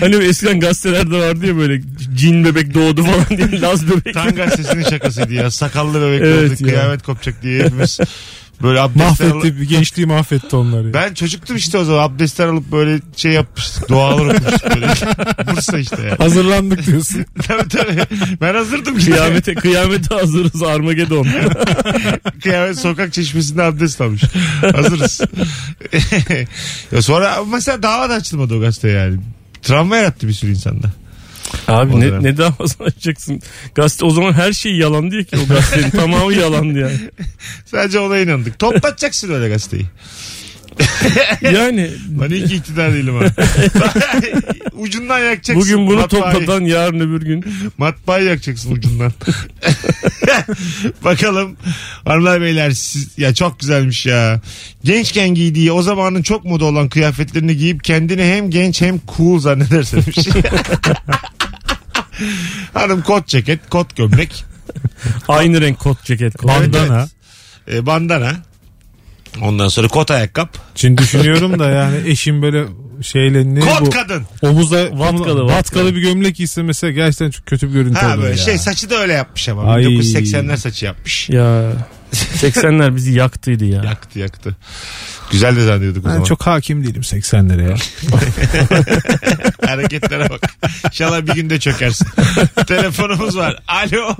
Speaker 4: hani eskiden gazetelerde vardı ya böyle cin bebek doğdu falan diye *laughs* Laz bebek.
Speaker 2: Tan gazetesinin şakasıydı ya. Sakallı bebek
Speaker 4: Evet
Speaker 2: olduk.
Speaker 4: ya.
Speaker 2: Kıyamet kopacak diye hepimiz böyle abdestler alıp.
Speaker 3: Mahvetti gençliği mahvetti onları.
Speaker 2: Ben çocuktum işte o zaman abdestler alıp böyle şey yapmıştık. Dualar okumuştuk böyle. Bursa işte ya.
Speaker 3: Hazırlandık diyorsun.
Speaker 2: tabii tabii. Ben hazırdım ki.
Speaker 4: Kıyamete, kıyamete hazırız Armageddon.
Speaker 2: Kıyamet sokak çeşmesinde abdest almış. Hazırız.
Speaker 4: *laughs*
Speaker 2: ya sonra mesela dava da açılmadı o gazete yani. Travma yarattı bir sürü insanda.
Speaker 4: Abi
Speaker 2: O
Speaker 4: ne,
Speaker 2: dönem.
Speaker 4: ne *laughs* davasını açacaksın? Gazete o zaman her şey yalan diye ki
Speaker 3: *laughs*
Speaker 4: o gazetenin tamamı yalandı yani.
Speaker 2: Sadece ona inandık. Toplatacaksın öyle gazeteyi.
Speaker 4: Yani
Speaker 2: Ben iyi ki iktidar değilim
Speaker 4: *laughs*
Speaker 2: ha. *laughs* ucundan yakacaksın.
Speaker 4: bugün bunu
Speaker 2: matbaayı.
Speaker 4: toplatan yarın öbür gün.
Speaker 2: Matbaayı yakacaksın
Speaker 3: *laughs*
Speaker 2: ucundan. Bakalım hanımlar beyler siz, ya çok güzelmiş ya. Gençken giydiği o zamanın çok moda olan kıyafetlerini giyip kendini hem genç hem cool zannedersin. *laughs* Hanım kot ceket, kot gömlek,
Speaker 4: Aynı renk kot ceket. Kot.
Speaker 3: Bandana.
Speaker 2: e, bandana. Ondan sonra kot ayakkabı.
Speaker 3: Şimdi düşünüyorum da yani eşim böyle şeyle ne
Speaker 2: Kot
Speaker 3: bu?
Speaker 2: kadın.
Speaker 3: Omuzda
Speaker 4: vatkalı.
Speaker 3: vatkalı, bir gömlek giyse mesela gerçekten çok kötü bir görüntü
Speaker 2: Ha
Speaker 3: olur
Speaker 2: böyle
Speaker 3: ya.
Speaker 2: şey saçı da öyle yapmış ama.
Speaker 3: Ay.
Speaker 2: 1980'ler saçı yapmış.
Speaker 4: Ya 80'ler bizi yaktıydı ya.
Speaker 2: Yaktı yaktı. Güzel de zannediyorduk o
Speaker 3: Ben
Speaker 2: zaman.
Speaker 3: çok hakim değilim
Speaker 2: *laughs*
Speaker 3: 80'lere ya.
Speaker 2: Hareketlere bak. İnşallah bir günde çökersin. *laughs* Telefonumuz var. Alo.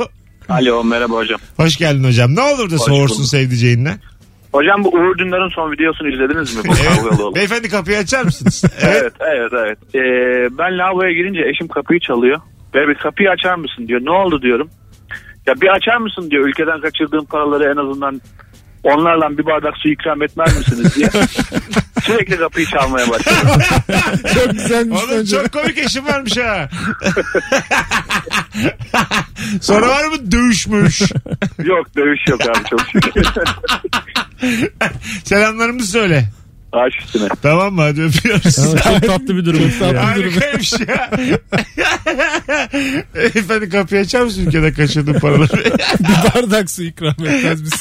Speaker 6: Alo merhaba hocam.
Speaker 2: Hoş geldin hocam. Ne olur da soğursun
Speaker 6: bulduk.
Speaker 2: sevdiceğinden.
Speaker 6: Hocam bu Uğur Dündar'ın son videosunu izlediniz mi? Bu kavgalı olan.
Speaker 2: Beyefendi kapıyı açar mısınız? Evet.
Speaker 6: *laughs* Evet evet evet. Ee, ben lavaboya girince eşim kapıyı çalıyor. Ve bir kapıyı açar mısın diyor. Ne oldu diyorum. Ya bir açar mısın diyor. Ülkeden kaçırdığım paraları en azından onlarla bir bardak su ikram etmez misiniz diye. Sürekli kapıyı çalmaya başladı.
Speaker 3: *laughs* çok güzelmiş
Speaker 2: Ee, Oğlum çok komik eşim varmış ha. *laughs* Sonra var mı dövüşmüş?
Speaker 6: *laughs* yok dövüş yok abi çok şükür.
Speaker 2: *laughs* Selamlarımızı söyle.
Speaker 6: Aç üstüne.
Speaker 2: Tamam mı? Hadi öpüyoruz.
Speaker 4: Ama çok tatlı bir durum. ya. *laughs*
Speaker 2: Harikaymış ya. *laughs* Efendim kapıyı açar mısın ülkede kaçırdığım paraları?
Speaker 3: bir bardak su ikram etmez misin?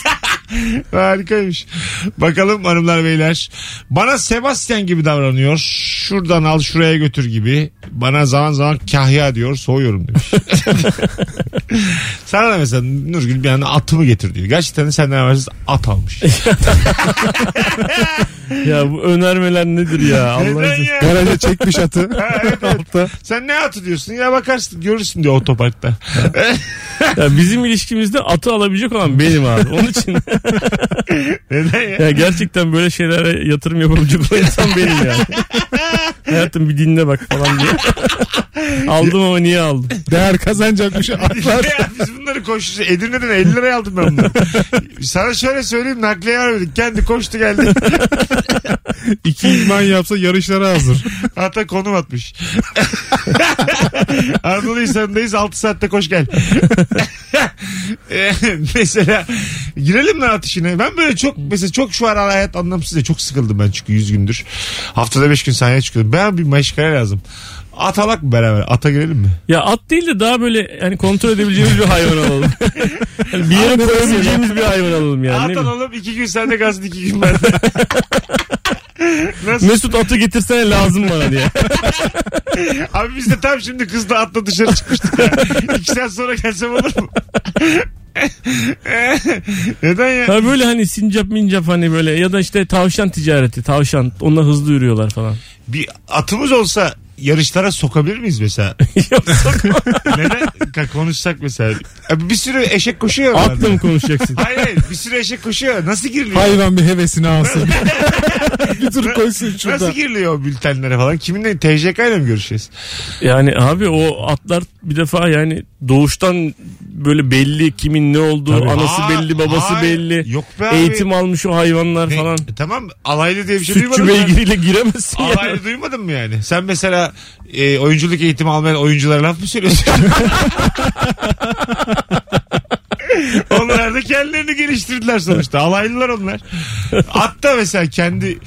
Speaker 2: Harikaymış. Bakalım hanımlar beyler. Bana Sebastian gibi davranıyor. Şuradan al şuraya götür gibi. Bana zaman zaman kahya diyor. Soğuyorum demiş. *laughs* Sana da mesela Nurgül bir anda atımı getir diyor. Gerçekten de senden habersiz at almış.
Speaker 4: ya bu önermeler nedir ya? Allah'ın
Speaker 2: Neden
Speaker 4: izniyle.
Speaker 2: ya?
Speaker 3: Garaja çekmiş atı. Altta.
Speaker 2: Sen ne atı diyorsun? Ya bakarsın görürsün diyor otoparkta. *laughs*
Speaker 4: Ya bizim ilişkimizde atı alabilecek olan benim abi. Onun
Speaker 3: *laughs*
Speaker 4: için
Speaker 2: Neden ya?
Speaker 4: *laughs* ya gerçekten böyle şeylere yatırım yapabilecek olan insan benim yani. Hayatım bir dinle bak falan diye. aldım ama niye aldım?
Speaker 3: Değer kazanacakmış atlar.
Speaker 2: Ya biz bunları koştu. Edirne'den 50 liraya aldım ben bunu. Sana şöyle söyleyeyim nakliye vermedik. Kendi koştu geldi.
Speaker 3: İki idman yapsa yarışlara hazır.
Speaker 2: Hatta konum
Speaker 4: *laughs*
Speaker 2: atmış. Anadolu İhsan'dayız 6 saatte koş gel. *laughs* Ee, mesela girelim mi at işine? Ben böyle çok mesela çok şu ara hayat anlamsız ya. Çok sıkıldım ben çünkü 100 gündür. Haftada 5 gün sahneye çıkıyordum. Ben bir meşgale lazım. At alak mı beraber? Ata girelim mi?
Speaker 4: Ya at değil de daha böyle hani kontrol edebileceğimiz bir hayvan alalım. Yani bir yere koyabileceğimiz bir hayvan alalım yani.
Speaker 2: at
Speaker 4: ne bileyim.
Speaker 2: alalım iki gün sende kalsın iki gün
Speaker 4: *laughs*
Speaker 2: bende. Nasıl?
Speaker 4: Mesut atı getirsene lazım bana diye.
Speaker 2: Abi biz de tam şimdi kızla atla dışarı çıkmıştık. ya. İki saat sonra gelsem olur mu? Neden ya?
Speaker 4: Ha böyle hani sincap mincap hani böyle ya da işte tavşan ticareti tavşan onunla hızlı yürüyorlar falan.
Speaker 2: Bir atımız olsa yarışlara sokabilir miyiz mesela?
Speaker 4: Yok,
Speaker 2: Neden? Ka- Konuşsak mesela. Abi bir sürü eşek koşuyor.
Speaker 4: Atla
Speaker 2: Aklım.
Speaker 4: mı konuşacaksın?
Speaker 2: Hayır hayır bir sürü eşek koşuyor. Nasıl giriliyor?
Speaker 3: Hayvan bir
Speaker 2: *laughs*
Speaker 3: hevesini alsın. *laughs* bir tur koysun şurada.
Speaker 2: Nasıl giriliyor o bültenlere falan? Kiminle TCK ile mi görüşeceğiz?
Speaker 4: Yani abi o atlar bir defa yani doğuştan böyle belli kimin ne olduğu
Speaker 3: Tabii.
Speaker 4: anası
Speaker 2: Aa,
Speaker 4: belli babası
Speaker 2: hayır.
Speaker 4: belli.
Speaker 2: Yok be abi.
Speaker 4: Eğitim almış o hayvanlar
Speaker 2: Ne-
Speaker 4: falan.
Speaker 2: E, tamam alaylı diye bir şey
Speaker 4: Sütçü
Speaker 2: duymadın mı?
Speaker 4: beygiriyle giremezsin ya.
Speaker 2: Alaylı duymadın mı yani? Sen mesela e, oyunculuk eğitimi almayan oyunculara laf mı söylüyorsun? *laughs* onlar da kendilerini geliştirdiler sonuçta. Alaylılar onlar. Hatta mesela kendi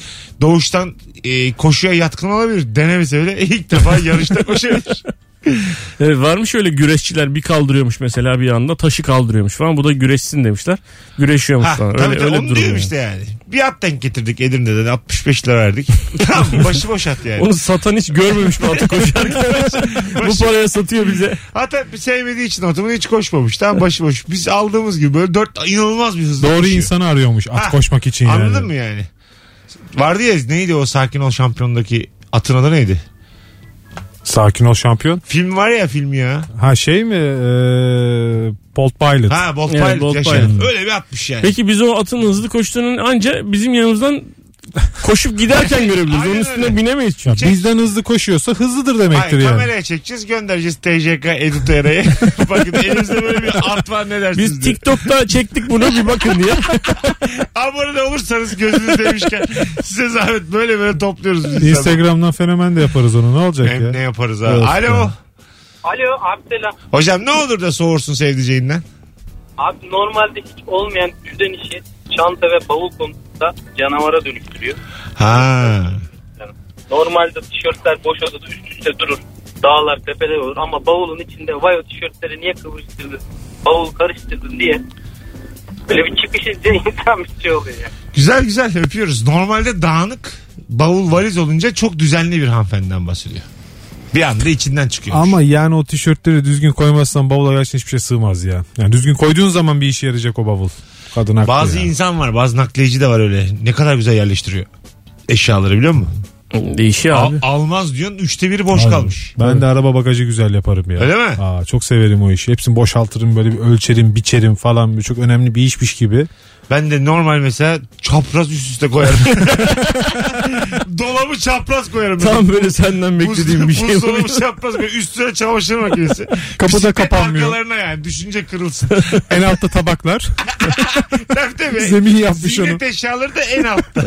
Speaker 2: doğuştan e, koşuya yatkın olabilir. Denemese bile ilk defa yarışta
Speaker 4: *laughs*
Speaker 2: koşabilir.
Speaker 4: *laughs* Evet, varmış öyle güreşçiler bir kaldırıyormuş mesela bir anda taşı kaldırıyormuş falan. Bu da güreşsin demişler. Güreşiyormuş
Speaker 2: Ha,
Speaker 4: falan.
Speaker 2: tabii
Speaker 4: öyle
Speaker 2: tabii,
Speaker 4: öyle bir
Speaker 2: onu
Speaker 4: durum.
Speaker 2: diyorum
Speaker 4: yani.
Speaker 2: işte yani. Bir at denk getirdik Edirne'den 65 lira
Speaker 4: *laughs*
Speaker 2: verdik. tamam başıboş at yani.
Speaker 4: Onu satan hiç görmemiş mi atı
Speaker 2: *laughs*
Speaker 4: koşarken? Bu paraya satıyor bize.
Speaker 2: Hatta sevmediği için atımın hiç koşmamış. Tamam başıboş. Biz aldığımız gibi böyle dört inanılmaz bir hızla
Speaker 3: Doğru
Speaker 2: koşuyor.
Speaker 3: insanı arıyormuş at
Speaker 2: Ha,
Speaker 3: koşmak için yani.
Speaker 2: Anladın mı yani? Vardı ya neydi o Sakin Ol Şampiyon'daki atın adı neydi?
Speaker 3: Sakin ol şampiyon.
Speaker 2: Film var ya film ya.
Speaker 3: Ha şey mi? E, Bolt Pilot.
Speaker 2: Ha Bolt
Speaker 4: Evet,
Speaker 2: Pilot
Speaker 4: Bolt
Speaker 2: yaşa.
Speaker 4: Pilot.
Speaker 2: Öyle bir atmış yani.
Speaker 4: Peki biz o atın hızlı koştuğunu anca bizim yanımızdan koşup giderken görebiliriz. Onun
Speaker 2: Aynen
Speaker 4: üstüne
Speaker 2: öyle. Şey-
Speaker 4: binemeyiz çünkü.
Speaker 3: Bizden hızlı koşuyorsa hızlıdır demektir
Speaker 2: Hayır,
Speaker 3: yani.
Speaker 2: kameraya çekeceğiz göndereceğiz TJK Editör'e. *laughs* Bakın elimizde böyle bir at var ne dersiniz
Speaker 4: Biz
Speaker 2: diye.
Speaker 4: TikTok'ta çektik bunu bir bakın diye.
Speaker 2: Abone de olursanız gözünüz demişken *laughs* size zahmet böyle böyle topluyoruz biz.
Speaker 3: Instagram'dan fenomen de yaparız onu. Ne olacak
Speaker 2: Hem
Speaker 3: ya?
Speaker 2: ne yaparız abi.
Speaker 3: Evet,
Speaker 2: Alo.
Speaker 3: tamam.
Speaker 5: Alo abi selam.
Speaker 2: Hocam ne olur da soğursun sevdiceğinden.
Speaker 5: Abi normalde hiç olmayan düzen işi çanta ve bavul konusunda canavara dönüştürüyor.
Speaker 2: Ha.
Speaker 5: Normalde tişörtler boş odada üst üste durur. Dağlar tepeler olur ama bavulun içinde vay o tişörtleri niye kıvırıştırdın? Bavul karıştırdın diye. Böyle bir çıkış izleyen *laughs* insan bir şey oluyor yani.
Speaker 2: Güzel güzel öpüyoruz. Normalde dağınık bavul valiz olunca çok düzenli bir hanımefendiden bahsediyor. Bir anda içinden çıkıyor.
Speaker 3: Ama yani o tişörtleri düzgün koymazsan bavula gerçekten hiçbir şey sığmaz ya. Yani düzgün koyduğun zaman bir işe yarayacak o bavul. Kadın haklı
Speaker 2: bazı
Speaker 3: ya.
Speaker 2: insan var bazı nakliyeci de var öyle. Ne kadar güzel yerleştiriyor eşyaları biliyor musun?
Speaker 4: *laughs* Değişiyor
Speaker 2: Al-
Speaker 4: abi.
Speaker 2: almaz diyorsun üçte biri boş
Speaker 3: Abi,
Speaker 2: kalmış.
Speaker 3: Ben de araba bagajı güzel yaparım ya.
Speaker 2: Öyle mi?
Speaker 3: Aa, çok severim o işi. Hepsini boşaltırım böyle bir ölçerim, biçerim falan. Bir- Çok önemli bir işmiş gibi.
Speaker 2: Ben de normal mesela çapraz üst üste
Speaker 3: *laughs*
Speaker 2: koyarım. Dolabı çapraz koyarım.
Speaker 4: Tam böyle senden beklediğim bir şey bu. *laughs*
Speaker 2: Buzdolabı çapraz koyarım. Üstüne çamaşır
Speaker 3: *laughs*
Speaker 2: makinesi.
Speaker 3: Kapı da
Speaker 2: Bisiklet
Speaker 3: kapanmıyor.
Speaker 2: Arkalarına yani düşünce
Speaker 3: *laughs*
Speaker 2: kırılsın.
Speaker 3: En altta tabaklar.
Speaker 2: tabii tabii.
Speaker 3: Zemin yapmış
Speaker 2: Ziynet
Speaker 3: onu.
Speaker 2: eşyaları da en altta.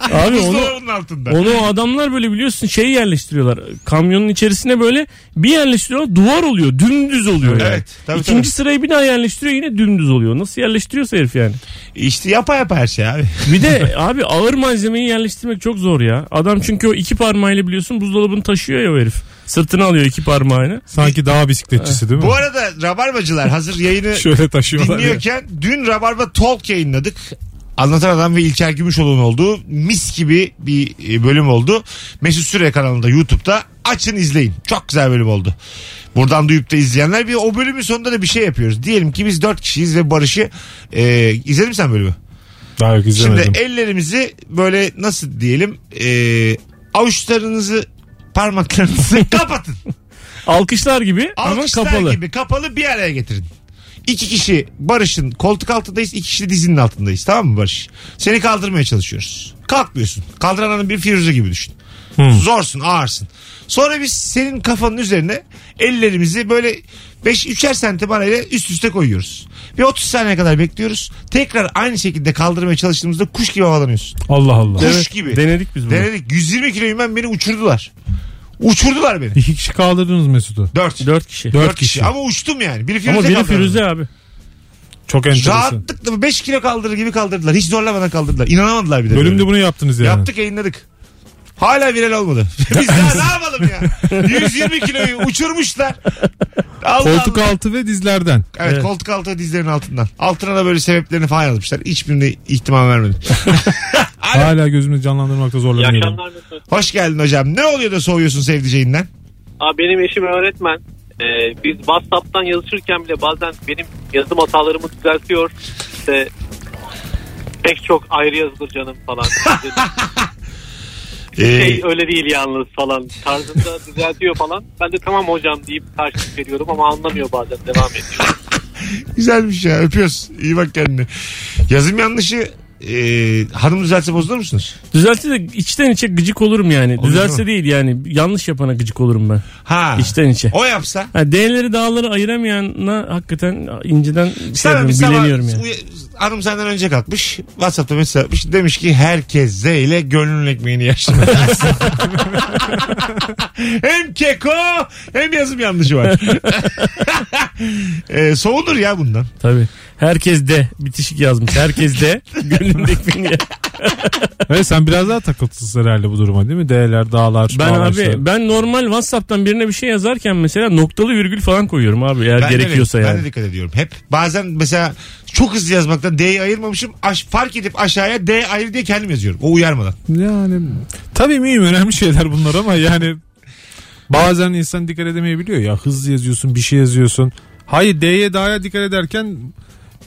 Speaker 4: Abi onu,
Speaker 2: Buzdolabının altında.
Speaker 4: onu o adamlar böyle biliyorsun şey yerleştiriyorlar. Kamyonun içerisine böyle bir yerleştiriyorlar duvar oluyor. Dümdüz oluyor yani.
Speaker 2: Evet, tabii,
Speaker 4: İkinci
Speaker 2: tabii.
Speaker 4: sırayı bir daha yerleştiriyor yine dümdüz oluyor. Nasıl yerleştiriyorsa herif yani.
Speaker 2: İşte yapa yapa her şey
Speaker 4: *laughs*
Speaker 2: abi.
Speaker 4: Bir de abi ağır malzemeyi yerleştirmek çok zor ya. Adam çünkü o iki parmağıyla biliyorsun buzdolabını taşıyor ya o herif. Sırtına alıyor iki parmağını.
Speaker 3: Sanki dağ bisikletçisi değil mi?
Speaker 2: Bu arada Rabarbacılar hazır yayını
Speaker 3: Şöyle taşıyorlar. ya.
Speaker 2: dinliyorken dün Rabarba Talk yayınladık. Anlatan Adam ve İlker Gümüşoğlu'nun olduğu mis gibi bir e, bölüm oldu. Mesut Süre kanalında YouTube'da açın izleyin. Çok güzel bölüm oldu. Buradan duyup da izleyenler bir o bölümün sonunda da bir şey yapıyoruz. Diyelim ki biz dört kişiyiz ve Barış'ı e, izledin mi sen bölümü?
Speaker 3: Daha yok izlemedim.
Speaker 2: Şimdi ellerimizi böyle nasıl diyelim e, avuçlarınızı
Speaker 4: *laughs*
Speaker 2: parmaklarınızı kapatın.
Speaker 4: Alkışlar gibi
Speaker 2: Alkışlar
Speaker 4: ama kapalı.
Speaker 2: gibi kapalı bir araya getirin. İki kişi Barış'ın koltuk altındayız. iki kişi dizinin altındayız. Tamam mı Barış? Seni kaldırmaya çalışıyoruz. Kalkmıyorsun. Kaldıranın bir firuze gibi düşün.
Speaker 4: Hmm.
Speaker 2: Zorsun ağırsın. Sonra biz senin kafanın üzerine ellerimizi böyle 5 üçer santim arayla üst üste koyuyoruz. Bir 30 saniye kadar bekliyoruz. Tekrar aynı şekilde kaldırmaya çalıştığımızda kuş gibi havalanıyorsun.
Speaker 3: Allah Allah.
Speaker 2: Kuş gibi.
Speaker 4: Denedik biz bunu.
Speaker 2: Denedik. 120 kiloyum ben beni uçurdular. Uçurdular beni.
Speaker 3: İki kişi kaldırdınız Mesut'u.
Speaker 2: 4.
Speaker 4: Dört kişi.
Speaker 3: Dört
Speaker 2: Dört kişi.
Speaker 3: kişi.
Speaker 2: Ama uçtum yani. Biri Firuze
Speaker 4: Ama biri
Speaker 2: kaldırdı.
Speaker 4: Firuze abi.
Speaker 3: Çok enteresan.
Speaker 2: Rahatlıkla 5 kilo kaldırır gibi kaldırdılar. Hiç zorlamadan kaldırdılar. İnanamadılar bir de.
Speaker 3: Bölümde
Speaker 2: böyle.
Speaker 3: bunu yaptınız yani.
Speaker 2: Yaptık yayınladık. Hala viral olmadı. Biz daha ne yapalım ya? 120 kiloyu uçurmuşlar. Allah
Speaker 3: Koltuk
Speaker 2: Allah.
Speaker 3: altı ve dizlerden.
Speaker 2: Evet, koltuk altı dizlerin altından. Altına da böyle sebeplerini falan yazmışlar. Hiçbirine ihtimam vermedim. Alo.
Speaker 3: Hala gözümü canlandırmakta
Speaker 5: İyi
Speaker 3: zorlanıyorum.
Speaker 5: akşamlar Mesut.
Speaker 2: Hoş geldin hocam. Ne oluyor da soğuyorsun sevdiceğinden?
Speaker 5: Abi benim eşim öğretmen. Ee, biz WhatsApp'tan yazışırken bile bazen benim yazım hatalarımı düzeltiyor. İşte pek çok ayrı yazılır canım falan. şey
Speaker 2: Ee,
Speaker 5: öyle değil yalnız falan tarzında düzeltiyor falan. Ben de tamam hocam deyip karşılık veriyorum ama anlamıyor bazen devam ediyor.
Speaker 2: güzelmiş ya. Öpüyoruz. İyi bak kendine. Yazım yanlışı e, hanım düzelse bozulur musunuz?
Speaker 4: Düzelse de içten içe gıcık olurum yani.
Speaker 2: Olur
Speaker 4: Düzelse
Speaker 2: mu?
Speaker 4: değil yani. Yanlış yapana gıcık olurum ben.
Speaker 2: Ha.
Speaker 4: İçten içe.
Speaker 2: O yapsa.
Speaker 4: Ha, D'leri dağları ayıramayana hakikaten inceden şey
Speaker 2: Sana bir
Speaker 4: yapıyorum,
Speaker 2: sabah
Speaker 4: bileniyorum yani.
Speaker 2: uya- hanım senden önce kalkmış. Whatsapp'ta mesaj atmış. Demiş ki herkes Z ile gönlün ekmeğini
Speaker 4: *laughs*
Speaker 2: yaşlı. hem keko hem yazım yanlışı
Speaker 4: *laughs*
Speaker 2: var. e, soğunur ya bundan.
Speaker 4: Tabii. Herkes de bitişik yazmış.
Speaker 2: *laughs*
Speaker 4: Herkes de gönlündeki beni.
Speaker 3: Evet sen biraz daha takıntısın herhalde bu duruma değil mi? D'ler, dağlar,
Speaker 4: Ben
Speaker 3: bağlaçlar.
Speaker 4: abi ben normal WhatsApp'tan birine bir şey yazarken mesela noktalı virgül falan koyuyorum abi eğer
Speaker 2: Ben de-
Speaker 4: gerekiyorsa
Speaker 2: ben
Speaker 4: yani.
Speaker 2: de dikkat ediyorum. Hep bazen mesela çok hızlı yazmaktan D'yi ayırmamışım. Aş, fark edip aşağıya D ayır diye kendim yazıyorum. O uyarmadan.
Speaker 3: Yani tabii mühim önemli şeyler bunlar ama yani bazen insan dikkat edemeyebiliyor ya hızlı yazıyorsun bir şey yazıyorsun. Hayır D'ye D'ye dikkat ederken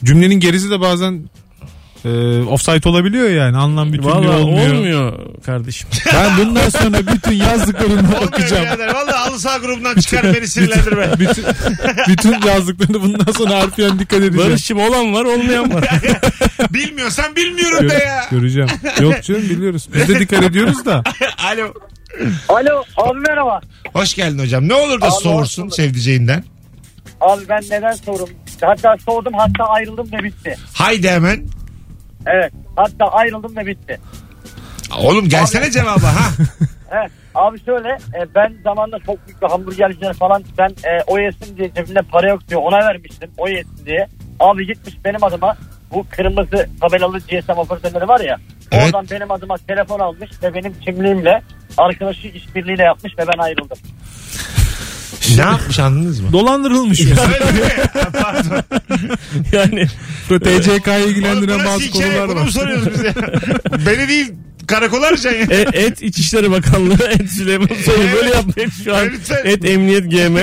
Speaker 3: cümlenin gerisi de bazen e, offside olabiliyor yani anlam bütünlüğü
Speaker 4: Valla
Speaker 3: olmuyor.
Speaker 4: olmuyor. *laughs* kardeşim.
Speaker 3: Ben bundan sonra bütün yazdıklarımı
Speaker 2: Olmuyor
Speaker 3: okuyacağım.
Speaker 2: birader. Valla halı saha grubundan çıkar
Speaker 4: *laughs*
Speaker 2: beni sinirlendirme.
Speaker 3: Bütün, *laughs* bütün yazdıklarını bundan sonra harfiyen dikkat edeceğim.
Speaker 4: Barış'cığım olan var olmayan *laughs* var.
Speaker 2: Bilmiyorsan bilmiyorum
Speaker 3: Gö-
Speaker 2: de ya.
Speaker 3: göreceğim. Yok canım biliyoruz. Biz de dikkat ediyoruz da.
Speaker 2: Alo.
Speaker 7: Alo abi merhaba.
Speaker 2: Hoş geldin hocam. Ne olur da
Speaker 7: Abi, hoş
Speaker 2: soğursun
Speaker 7: bulduk.
Speaker 2: sevdiceğinden.
Speaker 7: Abi ben neden sorum? Hatta sordum hatta ayrıldım da bitti.
Speaker 2: Haydi hemen.
Speaker 7: Evet hatta ayrıldım da bitti.
Speaker 2: Oğlum gelsene cevaba
Speaker 7: *laughs*
Speaker 2: ha.
Speaker 7: Evet. Abi şöyle e, ben zamanında çok büyük bir hamburgerciler falan ben e, o yesin diye cebimde para yok diye ona vermiştim o yesin diye. Abi gitmiş benim adıma bu kırmızı tabelalı GSM operatörleri var ya.
Speaker 2: Evet.
Speaker 7: Oradan benim adıma telefon almış ve benim kimliğimle arkadaşı işbirliğiyle yapmış ve ben ayrıldım.
Speaker 2: ne yapmış anladınız
Speaker 3: *laughs*
Speaker 2: mı?
Speaker 3: Dolandırılmış.
Speaker 2: Öyle mi? Ha, Pardon.
Speaker 4: *laughs* yani
Speaker 3: TCK'yı
Speaker 2: Oğlum
Speaker 3: ilgilendiren
Speaker 2: burası şey.
Speaker 3: bazı
Speaker 2: hikaye
Speaker 3: konular
Speaker 2: bunu mu
Speaker 3: var.
Speaker 2: soruyoruz biz ya?
Speaker 3: *laughs*
Speaker 2: Beni değil karakola arayacaksın ya.
Speaker 4: e- et İçişleri Bakanlığı, et Süleyman Soylu böyle yapmış şu an.
Speaker 2: Lütfen.
Speaker 4: Et Emniyet GM.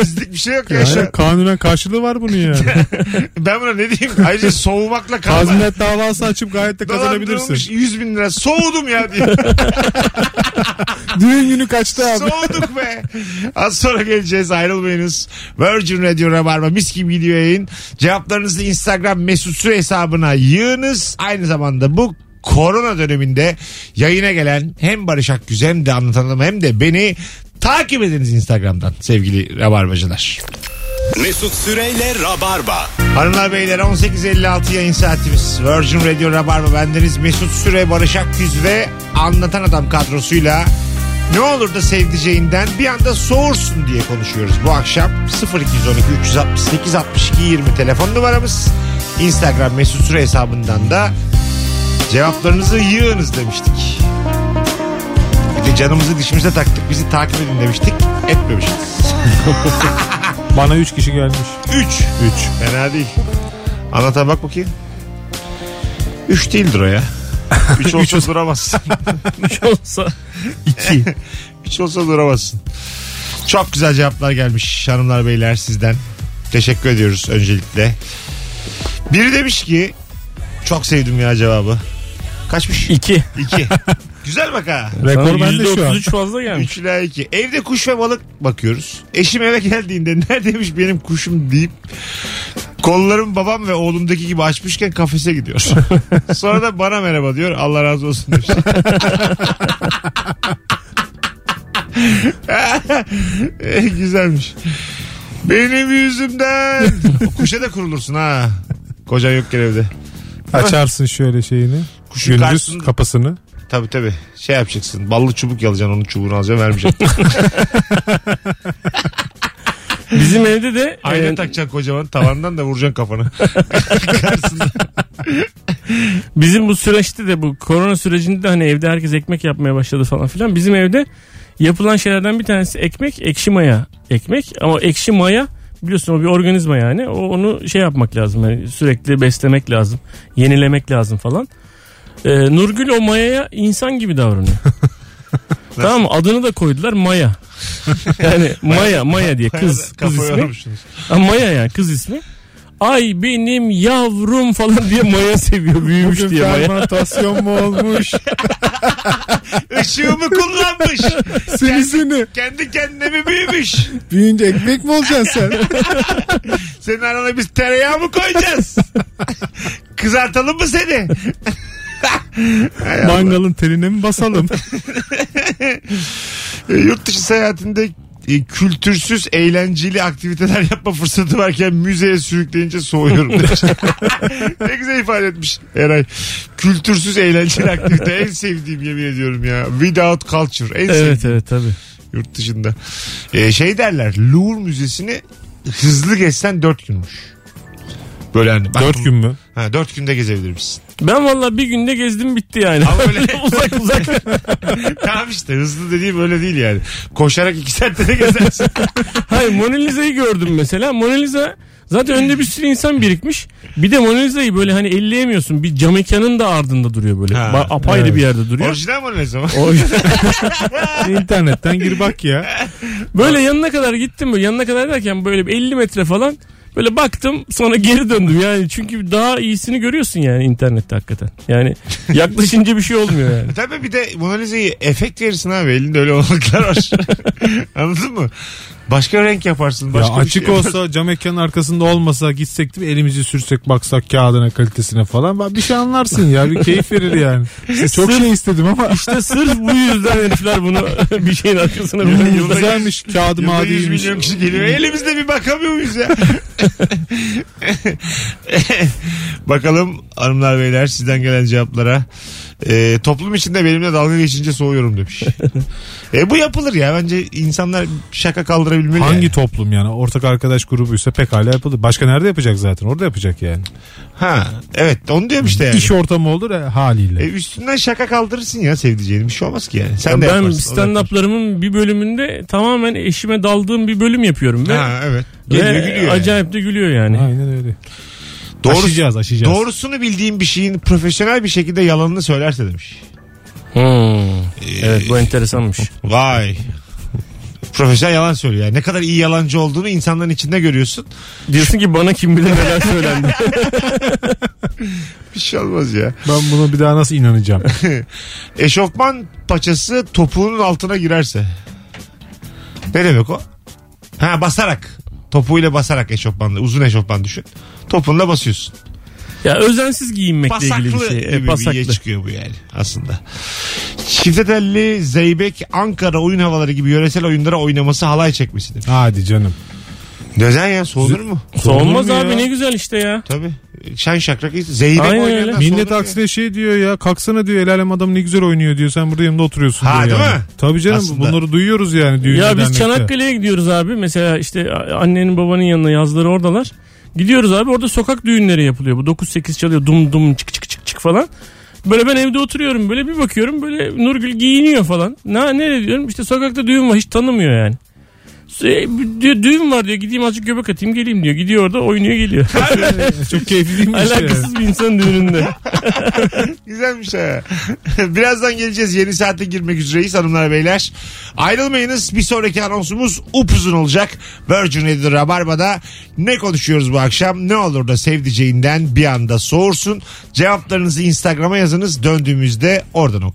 Speaker 2: Gizlilik bir şey yok ya. şu an.
Speaker 3: Yani kanunen karşılığı var
Speaker 2: *laughs*
Speaker 3: bunun yani.
Speaker 2: Ben buna ne diyeyim? Ayrıca
Speaker 3: *laughs*
Speaker 2: soğumakla kalma.
Speaker 3: Tazminat davası açıp gayet de
Speaker 2: Dolandırılmış
Speaker 3: kazanabilirsin.
Speaker 2: 100 bin lira. Soğudum ya diye.
Speaker 3: Düğün günü kaçtı abi.
Speaker 2: Soğuduk be. Az sonra geleceğiz ayrılmayınız. Virgin Radio Rabarba mis gibi gidiyor yayın. Cevaplarınızı Instagram mesut süre hesabına yığınız. Aynı zamanda bu korona döneminde yayına gelen hem Barış Akgüz hem de anlatanım hem de beni takip ediniz Instagram'dan sevgili Rabarbacılar.
Speaker 1: Mesut Süreyle Rabarba.
Speaker 2: Hanımlar beyler 18.56 yayın saatimiz. Virgin Radio Rabarba bendeniz Mesut Süre, Barış Akgüz ve Anlatan Adam kadrosuyla ne olur da sevdiceğinden bir anda soğursun diye konuşuyoruz. Bu akşam 0212 368 62 20 telefon numaramız. Instagram Mesut Süre hesabından da cevaplarınızı yığınız demiştik. Bir de canımızı dişimize taktık bizi takip edin demiştik. Etmemişiz.
Speaker 3: Bana 3 kişi gelmiş.
Speaker 2: 3.
Speaker 3: 3.
Speaker 2: Fena değil. Anlatan bak bakayım. Üç değildir o *laughs* ya. Üç olsa *laughs* duramazsın.
Speaker 4: Hiç *laughs* olsa.
Speaker 2: *laughs* Üç olsa duramazsın. Çok güzel cevaplar gelmiş hanımlar beyler sizden. Teşekkür ediyoruz öncelikle. Biri demiş ki çok sevdim ya cevabı. Kaçmış?
Speaker 4: iki.
Speaker 2: *laughs* İki. güzel bak ha.
Speaker 3: Rekor
Speaker 4: Sana
Speaker 3: bende şu an.
Speaker 4: %33 fazla gelmiş.
Speaker 2: Üç ila iki. Evde kuş ve balık bakıyoruz. Eşim eve geldiğinde *laughs* neredeymiş benim kuşum deyip kollarım babam ve oğlumdaki gibi açmışken kafese gidiyor. *laughs* Sonra da bana merhaba diyor. Allah razı olsun demiş. *laughs* Eh, Güzelmiş. Benim yüzümden. Kuşa da kurulursun ha. Kocan yokken evde.
Speaker 3: Açarsın şöyle şeyini.
Speaker 2: Kuşun
Speaker 3: Gündüz
Speaker 2: karşısında-
Speaker 3: kapısını.
Speaker 2: Tabii tabii. Şey yapacaksın. Ballı çubuk yalacaksın. Onun çubuğunu alacaksın. Vermeyeceksin.
Speaker 4: Bizim evde de
Speaker 2: Ayna
Speaker 4: e,
Speaker 2: takacaksın kocaman tavandan da vuracaksın
Speaker 3: *laughs*
Speaker 2: kafanı. Karşısında.
Speaker 4: bizim bu süreçte de bu korona sürecinde de hani evde herkes ekmek yapmaya başladı falan filan. Bizim evde yapılan şeylerden bir tanesi ekmek, ekşi maya ekmek. Ama ekşi maya biliyorsun o bir organizma yani. O onu şey yapmak lazım. Yani sürekli beslemek lazım. Yenilemek lazım falan. E, Nurgül o mayaya insan gibi davranıyor. tamam mı? Adını da koydular Maya. yani Maya, Maya diye kız kız
Speaker 2: Kafayı
Speaker 4: ismi.
Speaker 2: yormuşsunuz.
Speaker 4: Ha, Maya yani kız ismi. Ay benim yavrum falan diye Maya seviyor büyümüş
Speaker 3: Bugün
Speaker 4: diye Maya.
Speaker 3: fermentasyon mu olmuş?
Speaker 2: Işığımı kullanmış.
Speaker 3: seni seni.
Speaker 2: Kendi kendine mi büyümüş?
Speaker 3: Büyüyünce ekmek mi olacaksın sen? *laughs*
Speaker 2: Senin arana biz tereyağı mı
Speaker 3: *laughs*
Speaker 2: koyacağız? Kızartalım mı seni?
Speaker 3: Mangalın teline mi basalım?
Speaker 2: E, Yurt dışı seyahatinde e, kültürsüz eğlenceli aktiviteler yapma fırsatı varken müzeye sürükleyince soğuyorum
Speaker 3: *laughs*
Speaker 2: demiş. ne güzel ifade etmiş Eray. Kültürsüz eğlenceli aktivite en sevdiğim yemin ediyorum ya. Without culture en sevdiğim
Speaker 4: Evet evet tabii.
Speaker 2: yurt dışında. E, şey derler Louvre Müzesi'ni hızlı gezsen 4 günmüş. Böyle hani. bak-
Speaker 3: Dört gün mü?
Speaker 2: Ha, 4 günde gezebilir misin?
Speaker 4: Ben valla bir günde gezdim bitti yani.
Speaker 2: Ama öyle-
Speaker 4: *laughs* uzak uzak.
Speaker 2: *laughs* tamam işte hızlı dediğim öyle değil yani. Koşarak 2 saatte de
Speaker 3: *laughs*
Speaker 2: gezersin.
Speaker 4: Hayır Mona Lisa'yı gördüm mesela. Mona Lisa zaten önde bir sürü insan birikmiş. Bir de Mona Lisa'yı böyle hani elleyemiyorsun. Bir cam mekanın da ardında duruyor böyle.
Speaker 2: Ha,
Speaker 4: Ba- apayrı
Speaker 3: evet.
Speaker 4: bir yerde duruyor.
Speaker 2: Orijinal mi ne zaman?
Speaker 3: İnternetten gir bak ya.
Speaker 4: Böyle yanına kadar gittim böyle yanına kadar derken böyle bir 50 metre falan böyle baktım sonra geri döndüm yani çünkü daha iyisini görüyorsun yani internette hakikaten. Yani yaklaşınca bir şey olmuyor yani.
Speaker 2: Tabii bir de Mona Lisa'yı efekt verirsin abi. Elinde öyle olanaklar
Speaker 3: *laughs*
Speaker 2: var. Anladın mı? Başka renk yaparsın.
Speaker 3: ya
Speaker 2: Başka bir
Speaker 3: açık
Speaker 2: şey yaparsın.
Speaker 3: olsa cam ekranın arkasında olmasa gitsek değil mi? Elimizi sürsek baksak kağıdına kalitesine falan. Bak Bir şey anlarsın ya bir keyif verir yani. Çok şey istedim ama.
Speaker 4: İşte sırf bu yüzden herifler bunu *laughs* bir şeyin arkasına koyuyor.
Speaker 2: yılda-
Speaker 3: Güzelmiş kağıdı
Speaker 2: Yılda 100
Speaker 3: madiymiş.
Speaker 2: milyon kişi
Speaker 4: *laughs*
Speaker 2: geliyor. Elimizde bir bakamıyor muyuz ya? *laughs* Bakalım hanımlar beyler sizden gelen cevaplara. Ee, toplum içinde benimle dalga geçince soğuyorum
Speaker 4: *laughs*
Speaker 2: demiş. e, bu yapılır ya. Bence insanlar şaka kaldırabilmeli.
Speaker 3: Hangi
Speaker 2: yani.
Speaker 3: toplum yani? Ortak arkadaş grubuysa pekala yapılır. Başka nerede yapacak zaten? Orada yapacak yani.
Speaker 2: Ha, evet onu diyorum işte yani.
Speaker 3: İş ortamı olur e, haliyle.
Speaker 2: E, üstünden şaka kaldırırsın ya sevdiceğini. Bir şey olmaz ki yani. Sen de
Speaker 4: ben
Speaker 2: yaparsın, o da yapar.
Speaker 4: stand-up'larımın bir bölümünde tamamen eşime daldığım bir bölüm yapıyorum ve,
Speaker 2: Ha evet.
Speaker 4: ve
Speaker 2: Geliyor gülüyor. yani.
Speaker 4: acayip de gülüyor yani.
Speaker 3: Aynen öyle.
Speaker 2: Doğru-
Speaker 3: aşacağız aşacağız.
Speaker 2: Doğrusunu bildiğim bir şeyin profesyonel bir şekilde yalanını söylerse demiş.
Speaker 4: Hmm.
Speaker 2: Ee,
Speaker 4: Evet bu enteresanmış.
Speaker 2: Vay. *laughs* Profesyonel yalan söylüyor. Yani ne kadar iyi yalancı olduğunu insanların içinde görüyorsun.
Speaker 4: Diyorsun ki bana kim bilir neler
Speaker 2: *laughs*
Speaker 4: söylendi.
Speaker 2: Bir şey olmaz ya.
Speaker 3: Ben buna bir daha nasıl inanacağım?
Speaker 2: Eşofman paçası topuğunun altına girerse. Ne demek o? Ha basarak. Topuğuyla basarak eşofmanla. Uzun eşofman düşün. Topuğunla basıyorsun.
Speaker 4: ya özensiz giyinmekle ilgili bir
Speaker 2: Pasaklı
Speaker 4: şey.
Speaker 2: gibi
Speaker 4: Evet,
Speaker 2: bir
Speaker 4: pasaklı.
Speaker 2: yere çıkıyor bu yani aslında. Çifte telli, zeybek, Ankara oyun havaları gibi yöresel oyunlara oynaması halay çekmesi demiş.
Speaker 3: Hadi canım.
Speaker 2: Neden ya soğunur mu?
Speaker 4: Soğumaz
Speaker 3: Olur mu
Speaker 4: abi
Speaker 3: ya?
Speaker 4: ne güzel işte ya.
Speaker 2: Tabii. Şen şakrak. Zeybek
Speaker 4: Aynen
Speaker 2: oynayanlar
Speaker 4: öyle.
Speaker 2: soğunur
Speaker 3: Millet
Speaker 2: ya.
Speaker 3: aksine şey diyor ya kalksana diyor el alem adam ne güzel oynuyor diyor sen burada yanımda oturuyorsun
Speaker 2: Ha,
Speaker 3: diyor
Speaker 2: değil
Speaker 3: yani.
Speaker 2: mi?
Speaker 3: Tabii canım
Speaker 2: Aslında.
Speaker 3: bunları duyuyoruz yani düğünde
Speaker 4: Ya biz
Speaker 3: dernekte.
Speaker 4: Çanakkale'ye gidiyoruz abi. Mesela işte annenin babanın yanına yazları oradalar. Gidiyoruz abi orada sokak düğünleri yapılıyor. Bu 9-8 çalıyor dum dum çık çık çık çık falan. Böyle ben evde oturuyorum böyle bir bakıyorum böyle Nurgül giyiniyor falan. Ne, ne diyorum işte sokakta düğün var hiç tanımıyor yani. Sü- Diyor, düğün var diyor gideyim azıcık göbek atayım geleyim diyor. Gidiyor orada oynuyor geliyor.
Speaker 3: *laughs* Çok keyifli
Speaker 4: *laughs*
Speaker 3: değil mi? işte yani?
Speaker 4: Alakasız bir insan düğününde.
Speaker 2: Güzelmiş ha. *laughs* Birazdan geleceğiz. Yeni saate girmek üzereyiz hanımlar beyler. Ayrılmayınız. Bir sonraki anonsumuz upuzun olacak. Virgin Radio Rabarba'da ne konuşuyoruz bu akşam? Ne olur da sevdiceğinden bir anda soğursun. Cevaplarınızı Instagram'a yazınız. Döndüğümüzde oradan okuyacağız.